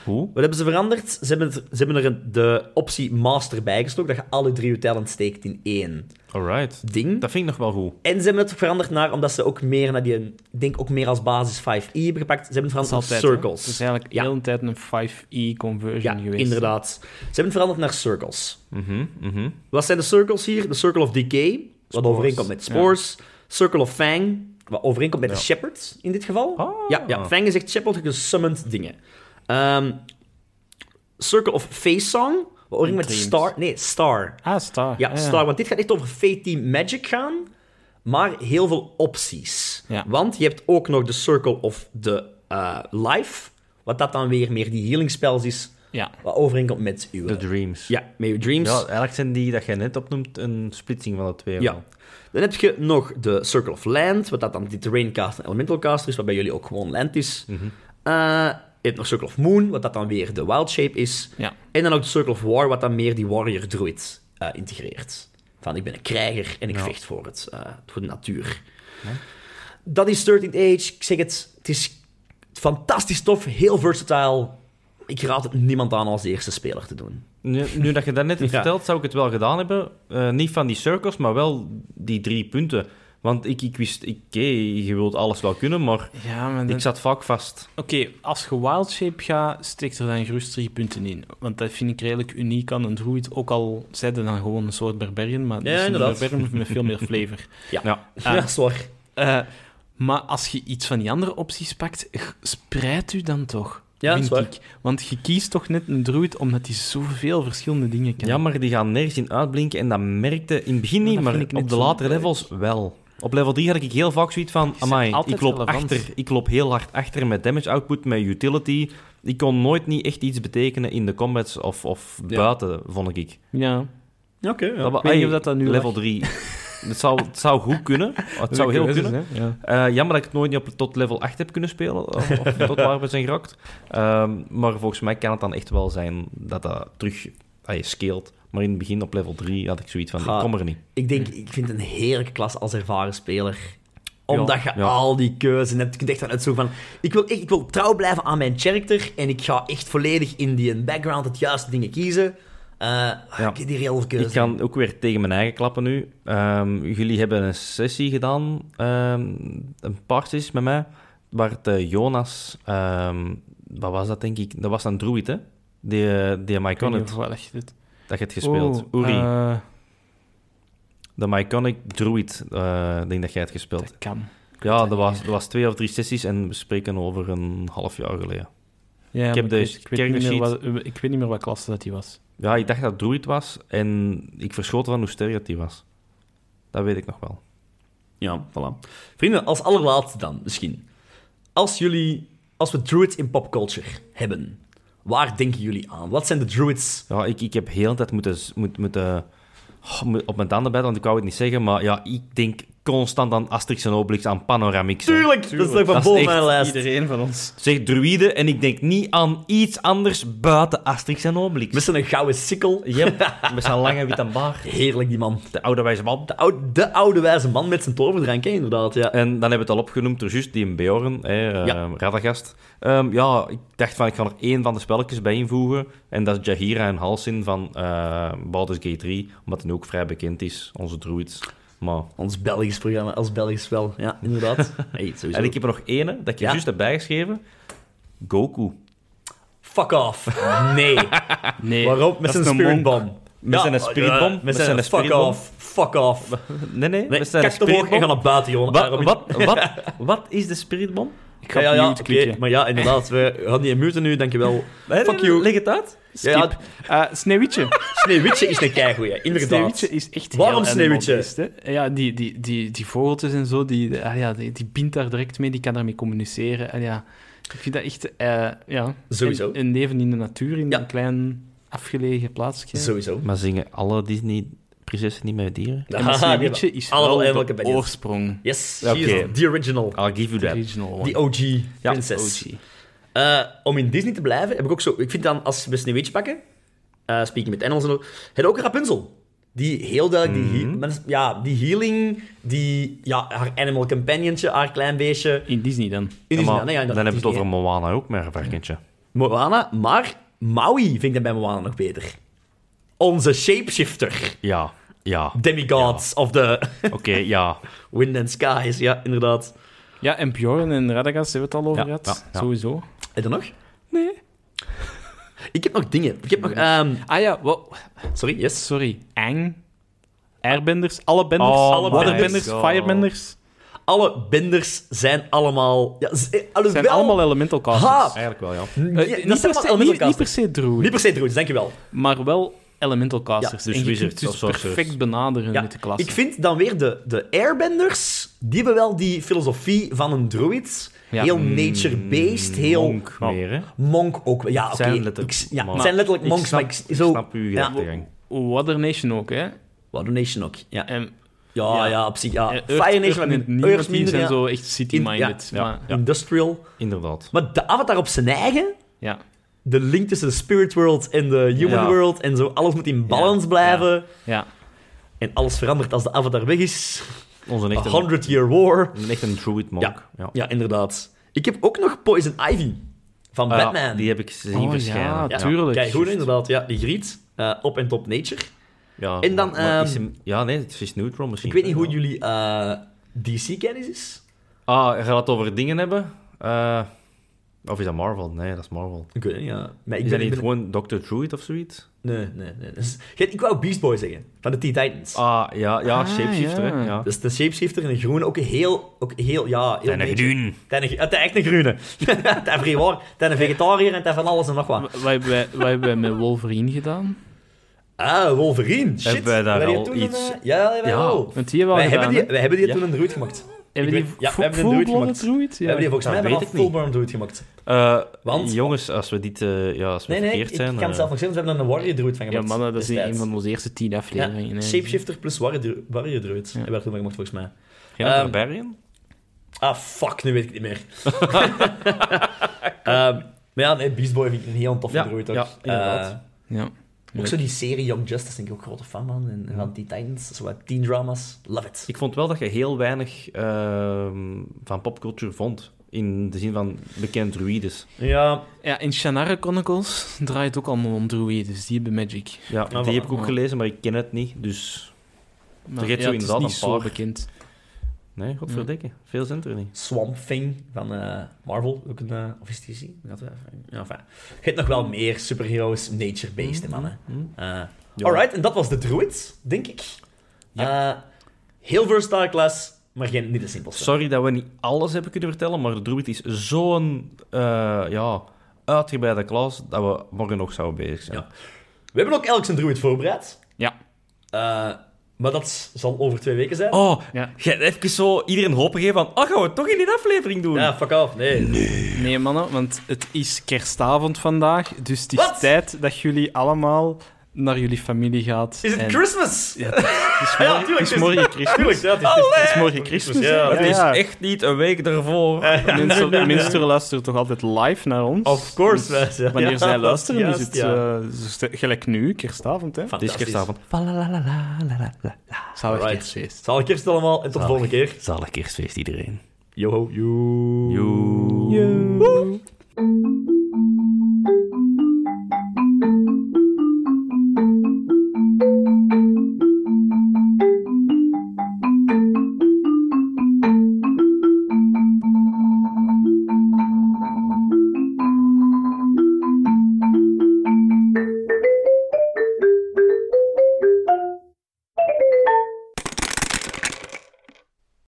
Speaker 2: Hoe?
Speaker 1: Wat hebben ze veranderd? Ze hebben, het- ze hebben er een- de optie master bijgestoken, dat je alle drie je talent steekt in één
Speaker 2: Alright.
Speaker 1: ding.
Speaker 2: Dat vind ik nog wel goed.
Speaker 1: En ze hebben het veranderd naar, omdat ze ook meer naar die, ik denk ook meer als basis 5e hebben gepakt, ze hebben het veranderd naar
Speaker 3: altijd, hè.
Speaker 1: circles.
Speaker 3: Het is eigenlijk
Speaker 1: Ja.
Speaker 3: heel een tijd een 5e-conversion
Speaker 1: Ja,
Speaker 3: geweest.
Speaker 1: inderdaad. Ze hebben het veranderd naar circles.
Speaker 2: Mhm, mhm.
Speaker 1: Wat zijn de circles hier? De Circle of Decay, wat
Speaker 3: Spores.
Speaker 1: overeenkomt met Spores. Circle of Fang, wat overeenkomt met
Speaker 2: Ja.
Speaker 1: de Shepherds in dit geval.
Speaker 2: Ah.
Speaker 1: Ja, ja, Fang is echt Shepherd, gesummoned dingen. Ehm, Circle of Face Song, wat overeenkomt met
Speaker 3: Dreams.
Speaker 1: Star. Nee, Star.
Speaker 3: Ah, Star.
Speaker 1: Ja, Star, want dit gaat echt over Fate Team Magic gaan, maar heel veel opties.
Speaker 3: Ja.
Speaker 1: Want je hebt ook nog de Circle of the eh, Life, wat dat dan weer meer die healing spells is,
Speaker 3: Ja.
Speaker 1: wat overeenkomt met uw...
Speaker 2: De dreams.
Speaker 1: Ja, dus- met uw dreams.
Speaker 2: Ja, eigenlijk zijn die dat jij net opnoemt een splitsing van de twee.
Speaker 1: Ja. Dan heb je nog de Circle of Land, wat dat dan die Terraincaster en Elemental Caster is, wat bij jullie ook gewoon Land is.
Speaker 2: Mhm.
Speaker 1: Eh, je hebt nog Circle of Moon, wat dat dan weer de Wild Shape is.
Speaker 3: Ja.
Speaker 1: En dan ook de Circle of War, wat dan meer die Warrior Druid eh, integreert. Van, ik ben een krijger en ik
Speaker 2: Ja.
Speaker 1: vecht voor, het, eh, voor de natuur. Dat is 13th Age. Ik zeg het, het is fantastisch tof, heel versatile. Ik raad het niemand aan als de eerste speler te doen.
Speaker 2: Nu, nu dat je dat net hebt
Speaker 1: Ja.
Speaker 2: verteld, zou ik het wel gedaan hebben. Eh, niet van die circles, maar wel die drie punten. Want ik, ik wist, ik- oké, je wilt alles wel kunnen, maar
Speaker 3: Ja, maar dan-
Speaker 2: ik zat vaak vast.
Speaker 3: Oké, als je wildshape gaat, steek er dan gerust drie punten in. Want dat vind ik redelijk uniek aan een druid. Ook al zeiden dan gewoon een soort barbarian, maar dat is een
Speaker 1: inderdaad.
Speaker 3: barbarian met veel meer flavor.
Speaker 1: Ja, dat is waar.
Speaker 3: Eh, maar als je iets van die andere opties pakt, g- spreid u dan toch.
Speaker 1: Ja, dat
Speaker 3: vind
Speaker 1: is waar.
Speaker 3: ik. Want je kiest toch net een druid omdat hij zoveel verschillende dingen kan.
Speaker 2: Ja, maar die gaan nergens in uitblinken en dat merkte in het begin niet,
Speaker 3: Dat
Speaker 2: maar
Speaker 3: vind ik
Speaker 2: op
Speaker 3: net
Speaker 2: de
Speaker 3: zo
Speaker 2: latere
Speaker 3: leuk.
Speaker 2: levels wel. Op level 3 had ik heel vaak zoiets van,
Speaker 3: bent
Speaker 2: amai,
Speaker 3: altijd
Speaker 2: ik loop
Speaker 3: relevant.
Speaker 2: achter. Ik loop heel hard achter met damage output, met utility. Ik kon nooit niet echt iets betekenen in de combats of, of
Speaker 1: Ja.
Speaker 2: buiten, vond ik.
Speaker 3: Ja.
Speaker 1: Oké, ja.
Speaker 2: Dat, wa-
Speaker 3: Ik weet niet
Speaker 2: ai,
Speaker 3: of dat dat nu
Speaker 2: level
Speaker 3: lag.
Speaker 2: 3. het, zou, het zou goed kunnen. Het zou heel kunnen.
Speaker 3: Ja.
Speaker 2: Eh, jammer dat ik het nooit niet op, tot level 8 heb kunnen spelen. Of, of tot waar we zijn gerakt. Ehm, maar volgens mij kan het dan echt wel zijn dat dat terug ah, je scaleert. Maar in het begin op level 3 had ik zoiets van,
Speaker 1: Ah.
Speaker 2: ik kom er niet.
Speaker 1: Ik denk, ik vind het een heerlijke klas als ervaren speler. Omdat je
Speaker 2: ja.
Speaker 1: al die keuzes hebt. Je kunt echt gaan uitzoeken van... Ik wil, ik, ik wil trouw blijven aan mijn character. En ik ga echt volledig in die background het juiste dingen kiezen. Eh Ik heb hier heel veel keuzes.
Speaker 2: Ik kan ook weer tegen mijn eigen klappen nu. Ehm, jullie hebben een sessie gedaan, ehm, een paar sessies met mij, waar het, eh, Jonas, ehm, wat was dat denk ik? Dat was een druid, hè? Die, eh, die
Speaker 3: Ik weet niet
Speaker 2: Myconic,
Speaker 3: of wel echt dit...
Speaker 2: dat je het gespeeld.
Speaker 3: Oh,
Speaker 2: Uri,
Speaker 3: eh,
Speaker 2: de Myconic druid, eh, denk dat jij het gespeeld.
Speaker 3: dat kan.
Speaker 2: Ja,
Speaker 3: dat
Speaker 2: er was,
Speaker 3: niet.
Speaker 2: er was twee of drie sessies en we spreken over een half jaar geleden.
Speaker 3: Ja,
Speaker 2: heb
Speaker 3: maar
Speaker 2: de
Speaker 3: weet- weet niet meer
Speaker 2: kerkensheet.
Speaker 3: wat- ik weet niet meer wat klasse dat die was.
Speaker 2: Ja, ik dacht dat het druid was en ik verschoot van hoe sterk dat die was. Dat weet ik nog wel.
Speaker 1: Ja, voilà. Vrienden, als allerlaatste dan, misschien. Als jullie... Als we druids in popculture hebben, waar denken jullie aan? Wat zijn de druids?
Speaker 2: Ja, ik, ik heb heel de tijd moeten, z- moet, moeten oh, moet- op mijn tanden bijten, want ik wou het niet zeggen, maar ja, ik denk constant aan Asterix en Obelix, aan Panoramix. hè.
Speaker 1: Tuurlijk, dat is toch van
Speaker 2: Dat is
Speaker 1: boven
Speaker 2: echt
Speaker 1: mijn lijst.
Speaker 3: Iedereen van ons.
Speaker 2: Zeg druïde en ik denk niet aan iets anders buiten Asterix en Obelix.
Speaker 1: Met zijn gouden sikkel.
Speaker 2: Yep, met zijn lange witte baard.
Speaker 1: Heerlijk, die man.
Speaker 2: De oude wijze man.
Speaker 1: De oude, de oude wijze man met zijn toverdrank, hè, inderdaad. Ja.
Speaker 2: En dan hebben we het al opgenoemd, er juist die in Bjorn, hè, eh,
Speaker 1: Ja.
Speaker 2: Radagast. Ehm, ja, ik dacht van, ik ga er één van de spelletjes bij invoegen. En dat is Jahira en Halsin van eh Baldur's Gate 3, omdat hij ook vrij bekend is, onze druids. Maar...
Speaker 1: Ons Belgisch programma, als Belgisch spel. Ja, inderdaad. Hey, sowieso.
Speaker 2: En ik heb er nog ene, dat ik je
Speaker 1: Ja.
Speaker 2: juist heb bijgeschreven. Goku.
Speaker 1: Fuck off. Nee.
Speaker 3: Nee.
Speaker 1: Waarop? Met
Speaker 3: dat
Speaker 1: zijn
Speaker 3: is een
Speaker 1: spirit
Speaker 3: monk.
Speaker 1: bomb.
Speaker 2: Met zijn
Speaker 1: Ja,
Speaker 2: spiritbom.
Speaker 1: ja, Met zijn fuck
Speaker 2: spiritbom.
Speaker 1: off, fuck off.
Speaker 2: Nee, nee,
Speaker 1: Nee,
Speaker 2: met zijn
Speaker 1: kijk omhoog en ga
Speaker 2: spiritbom.
Speaker 1: naar buiten, jongen.
Speaker 2: Wat,
Speaker 1: Daarom-
Speaker 2: wat, wat, wat is de spiritbom?
Speaker 3: Ik ga
Speaker 1: ja,
Speaker 3: ja,
Speaker 1: ja,
Speaker 3: mute klikken.
Speaker 1: oké, maar ja, inderdaad. We gaan niet muten nu, dankjewel.
Speaker 2: Nee,
Speaker 1: Fuck
Speaker 2: nee,
Speaker 1: you.
Speaker 2: Leg het uit.
Speaker 1: Ja, ja,
Speaker 3: Skip. Eh, Sneeuwwitje.
Speaker 1: Sneeuwwitje is een keigoeie, inderdaad.
Speaker 3: Sneeuwwitje is echt
Speaker 1: Waarom
Speaker 3: heel
Speaker 1: Sneeuwwitje?
Speaker 3: animalist, hè. Eh, Ja, die, die, die, die vogeltjes en zo, die, ah, ja, die, die bindt daar direct mee, die kan daarmee communiceren. En ja, ik vind dat echt eh, ja,
Speaker 1: Sowieso.
Speaker 3: Een, een leven in de natuur, in
Speaker 1: Ja.
Speaker 3: een klein afgelegen plaatsje.
Speaker 1: Sowieso.
Speaker 2: Maar zingen alle Disney-prinsessen niet meer dieren?
Speaker 3: En dat
Speaker 1: Haha,
Speaker 3: Sneeuwwitje is
Speaker 1: Allemaal
Speaker 3: wel
Speaker 1: eigenlijk
Speaker 3: de
Speaker 1: bij die-
Speaker 3: oorsprong.
Speaker 1: Yes, she
Speaker 2: Ja,
Speaker 1: is
Speaker 2: oké.
Speaker 1: the original.
Speaker 2: I'll give you
Speaker 3: De
Speaker 2: that.
Speaker 3: original one.
Speaker 1: The OG
Speaker 2: Ja,
Speaker 1: princess.
Speaker 2: OG.
Speaker 1: Eh, om in Disney te blijven, heb ik ook zo... Ik vind dan, als we Sneeuwwitje pakken, eh speaking met Engels en zo, heb je ook Rapunzel. Die heel duidelijk, die, he-
Speaker 2: Mhm.
Speaker 1: mensen- ja, die healing, die, ja, haar animal companionje, haar klein beestje.
Speaker 3: In Disney dan.
Speaker 1: In
Speaker 2: Ja,
Speaker 1: die
Speaker 2: maar
Speaker 1: zin- nee, ja,
Speaker 2: dan
Speaker 1: inderdaad,
Speaker 2: hebben we het
Speaker 1: Disney,
Speaker 2: over Moana ook, maar een varkentje.
Speaker 1: Moana, maar Maui vind ik dan bij Moana nog beter. Onze shapeshifter.
Speaker 2: Ja, ja.
Speaker 1: Demigods of the
Speaker 2: Oké, ja.
Speaker 1: wind and skies. Ja, inderdaad.
Speaker 3: Ja, en Bjorn en Radagast hebben we het al over
Speaker 2: Ja,
Speaker 3: gehad.
Speaker 2: ja, ja.
Speaker 3: Sowieso.
Speaker 1: En dan nog?
Speaker 3: Nee.
Speaker 1: Ik heb nog dingen. Ik heb
Speaker 2: Mhm.
Speaker 1: nog... ehm,
Speaker 3: Ah ja, wa-
Speaker 1: sorry, yes.
Speaker 3: sorry. Ang. Airbenders. Alle benders.
Speaker 2: Oh
Speaker 3: alle
Speaker 1: my
Speaker 3: waterbenders.
Speaker 2: God.
Speaker 3: Firebenders.
Speaker 1: Alle benders zijn allemaal... Ja, z- eh, alhoewel-
Speaker 3: zijn allemaal elemental casters.
Speaker 1: Ha!
Speaker 2: Eigenlijk wel, ja.
Speaker 1: Ja, dat
Speaker 3: Eh, niet,
Speaker 1: zijn
Speaker 3: per
Speaker 1: allemaal
Speaker 3: se, niet,
Speaker 1: elemental
Speaker 3: niet per
Speaker 1: casters.
Speaker 3: se druid,
Speaker 1: Niet per se druids, dankjewel.
Speaker 3: maar wel elemental casters.
Speaker 2: Ja, dus
Speaker 3: en je kunt
Speaker 2: wizards
Speaker 3: dus
Speaker 2: of sorcerers.
Speaker 3: perfect benaderen
Speaker 1: Ja,
Speaker 3: met de klasse.
Speaker 1: ik vind dan weer de, de airbenders, die hebben wel die filosofie van een druid.
Speaker 3: Ja.
Speaker 1: Heel nature-based, heel...
Speaker 2: Mm,
Speaker 1: Oh,
Speaker 2: Monk meer, hè.
Speaker 1: Monk ook wel. Ja, oké.
Speaker 2: Het zijn letterlijk
Speaker 1: Ik s- ja, het
Speaker 2: monks.
Speaker 1: zijn letterlijk
Speaker 2: Ik
Speaker 1: monks,
Speaker 2: snap-
Speaker 1: maar ik, s-
Speaker 2: ik
Speaker 1: zo...
Speaker 2: snap uw
Speaker 1: ja.
Speaker 2: gedachtegang.
Speaker 3: Water Nation ook, hè.
Speaker 1: Wat een nation ook. Ja, ja,
Speaker 3: En,
Speaker 1: ja,
Speaker 3: Ja.
Speaker 1: op zich. Ja.
Speaker 3: en Earth-
Speaker 1: Ah, Fire Nation
Speaker 3: Earth
Speaker 1: wat
Speaker 3: en
Speaker 1: minder.
Speaker 3: Niemand,
Speaker 1: Earth
Speaker 3: die
Speaker 1: minder,
Speaker 3: zijn
Speaker 1: ja.
Speaker 3: zo echt city-minded.
Speaker 1: In- ja,
Speaker 3: maar- Ja,
Speaker 1: Industrial.
Speaker 2: Inderdaad.
Speaker 1: Maar de avatar op zijn eigen,
Speaker 3: ja.
Speaker 1: de link tussen de spirit world en de human
Speaker 2: Ja.
Speaker 1: world en zo, alles moet in balans
Speaker 3: Ja.
Speaker 1: blijven.
Speaker 3: ja.
Speaker 1: En alles verandert als de avatar weg is.
Speaker 2: Onze
Speaker 1: A
Speaker 2: echte,
Speaker 1: hundred year war.
Speaker 2: een echte druid monk.
Speaker 1: Ja.
Speaker 2: Ja.
Speaker 1: Ja, inderdaad. Ik heb ook nog Poison Ivy van
Speaker 2: Ah,
Speaker 1: Batman.
Speaker 2: Die heb ik zien
Speaker 3: Oh, ja,
Speaker 2: verschijnen.
Speaker 3: tuurlijk.
Speaker 1: Kijk, goed inderdaad. Ja, die griet. eh, op en top nature.
Speaker 2: Ja,
Speaker 1: En dan,
Speaker 2: maar- maar is
Speaker 1: ehm,
Speaker 2: hem- ja, nee, het is neutral misschien.
Speaker 1: Ik weet niet hoe jullie eh, DC-kennis is.
Speaker 2: Ah, je gaat het over dingen hebben? Eh, of is dat Marvel? Nee, dat is Marvel.
Speaker 1: Ik weet het niet, ja. Maar ik ben
Speaker 2: Is dat
Speaker 1: ik
Speaker 2: niet
Speaker 1: ben-
Speaker 2: gewoon Dr. Druid of zoiets?
Speaker 1: Nee, nee, nee. Dus- Kijk, ik wou Beast Boy zeggen, van de Teen Titans.
Speaker 2: Ah, ja, ja,
Speaker 3: Ah,
Speaker 2: shapeshifter,
Speaker 3: ja.
Speaker 2: hè. Ja.
Speaker 1: Dus de shapeshifter in de groene, ook heel, ook heel, ja, heel
Speaker 2: En een
Speaker 1: beetje-
Speaker 2: gedun.
Speaker 1: Tijn een ge- ah, tijn echt een groene. Tijn vrij waar, tijn een vegetariër en tijn van alles en nog wat.
Speaker 3: Wat wat hebben wij- wat hebben wij met Wolverine gedaan?
Speaker 1: Ah, Wolverine, shit.
Speaker 2: Hebben wij daar
Speaker 1: Hebben die
Speaker 2: al
Speaker 1: toen een,
Speaker 2: iets-
Speaker 1: eh, ja, ja, wel.
Speaker 3: Want die hebben we
Speaker 1: Wij hebben,
Speaker 3: al gedaan,
Speaker 1: die,
Speaker 3: hè.
Speaker 1: wij hebben die
Speaker 2: Ja.
Speaker 1: toen een druid gemaakt.
Speaker 3: Hebben
Speaker 1: ik
Speaker 3: die
Speaker 1: weet- ja,
Speaker 3: fu-
Speaker 1: we hebben een druid
Speaker 3: full-blown
Speaker 1: gemaakt.
Speaker 3: druid?
Speaker 1: We
Speaker 3: Ja.
Speaker 1: hebben die volgens
Speaker 2: dat
Speaker 1: mij wel
Speaker 2: weet
Speaker 1: een
Speaker 2: ik niet.
Speaker 1: full-blown druid gemaakt.
Speaker 2: Eh,
Speaker 1: Want-
Speaker 2: jongens, als we dit... eh, ja, als we
Speaker 1: Nee, nee, ik,
Speaker 2: verkeerd
Speaker 1: ik
Speaker 2: zijn...
Speaker 1: kan
Speaker 2: eh,
Speaker 1: het zelf nog zeggen, we hebben er een warrior druid van
Speaker 3: Ja,
Speaker 1: gemaakt.
Speaker 3: mannen, dat is een
Speaker 1: destijds.
Speaker 3: van onze eerste tien afleveringen.
Speaker 1: Ja,
Speaker 3: hè.
Speaker 1: shapeshifter plus warrior, warrior druid
Speaker 3: Ja.
Speaker 1: hebben we toen van gemaakt, volgens mij.
Speaker 2: Geen um,
Speaker 1: Ehm,
Speaker 2: barbarian?
Speaker 1: Ah, fuck, nu weet ik het niet meer. Ehm, maar ja, nee, Beast Boy vind ik een heel toffe
Speaker 2: Ja,
Speaker 1: druid ook.
Speaker 2: ja, inderdaad.
Speaker 1: Eh,
Speaker 3: Ja.
Speaker 1: ook zo die serie Young Justice, denk ik ook grote fan van. En, en van die Titans, zo wat teen dramas. Love it.
Speaker 2: Ik vond wel dat je heel weinig ehm, van popcultuur vond. In de zin van bekend druides.
Speaker 1: Ja,
Speaker 3: Ja, in Shannara Chronicles draait het ook allemaal om druiden, dus die hebben magic.
Speaker 2: Ja,
Speaker 1: Nou,
Speaker 2: die
Speaker 1: voilà.
Speaker 2: heb ik ook
Speaker 3: Ja.
Speaker 2: gelezen, maar ik ken het niet. Dus
Speaker 3: Maar
Speaker 2: Er heet
Speaker 3: ja,
Speaker 2: zo
Speaker 3: het is
Speaker 2: inderdaad
Speaker 3: niet
Speaker 2: een
Speaker 3: zo
Speaker 2: paar.
Speaker 3: bekend.
Speaker 2: nee, godverdikke. Veel zijn er niet.
Speaker 1: Swamp Thing van eh, Marvel, ook een... eh, of is die zien? Ja, enfin. Je hebt nog wel meer superheroes,
Speaker 3: Mm-hmm.
Speaker 1: nature-based, hè, mannen. Eh,
Speaker 2: Ja.
Speaker 1: alright, en dat was de druid, denk ik. Eh, heel versatile class, maar geen, niet de simpelste.
Speaker 2: Sorry dat we niet alles hebben kunnen vertellen, maar de druid is zo'n eh ja, uitgebreide klas dat we morgen nog zouden bezig zijn.
Speaker 1: Ja. We hebben ook elk zijn druid voorbereid.
Speaker 3: Ja.
Speaker 1: Eh, maar dat zal over twee weken zijn.
Speaker 2: Oh,
Speaker 3: Ja.
Speaker 2: je hebt even zo iedereen hoop gegeven van, oh, gaan we het toch in die aflevering doen?
Speaker 1: Ja, fuck off. Nee.
Speaker 3: Nee, mannen, want het is kerstavond vandaag, dus het is
Speaker 1: Wat?
Speaker 3: tijd dat jullie allemaal naar jullie familie gaat.
Speaker 1: Is het
Speaker 3: en-
Speaker 1: Christmas?
Speaker 3: Ja, het is
Speaker 1: Ja,
Speaker 3: morgen,
Speaker 1: tuurlijk,
Speaker 3: het is
Speaker 1: het is-
Speaker 3: morgen Christus.
Speaker 1: Tuurlijk, ja, het is,
Speaker 3: Het is morgen Christus.
Speaker 1: Ja,
Speaker 3: hè.
Speaker 1: het
Speaker 2: Het is
Speaker 3: ja.
Speaker 2: echt niet een week daarvoor.
Speaker 3: Mensen, mensen luisteren toch altijd live naar ons?
Speaker 1: Of course.
Speaker 3: Dus
Speaker 1: wij- ja.
Speaker 3: wanneer
Speaker 1: Ja,
Speaker 3: zij luisteren,
Speaker 1: juist,
Speaker 3: is het
Speaker 1: ja.
Speaker 3: eh, zo st- gelijk nu, kerstavond. Hè?
Speaker 2: Het is kerstavond.
Speaker 3: Zalig
Speaker 1: Alright.
Speaker 3: kerstfeest.
Speaker 1: Zal ik kerst allemaal en tot de volgende keer.
Speaker 2: Zalig kerstfeest iedereen.
Speaker 1: Yo, yo.
Speaker 2: Joe.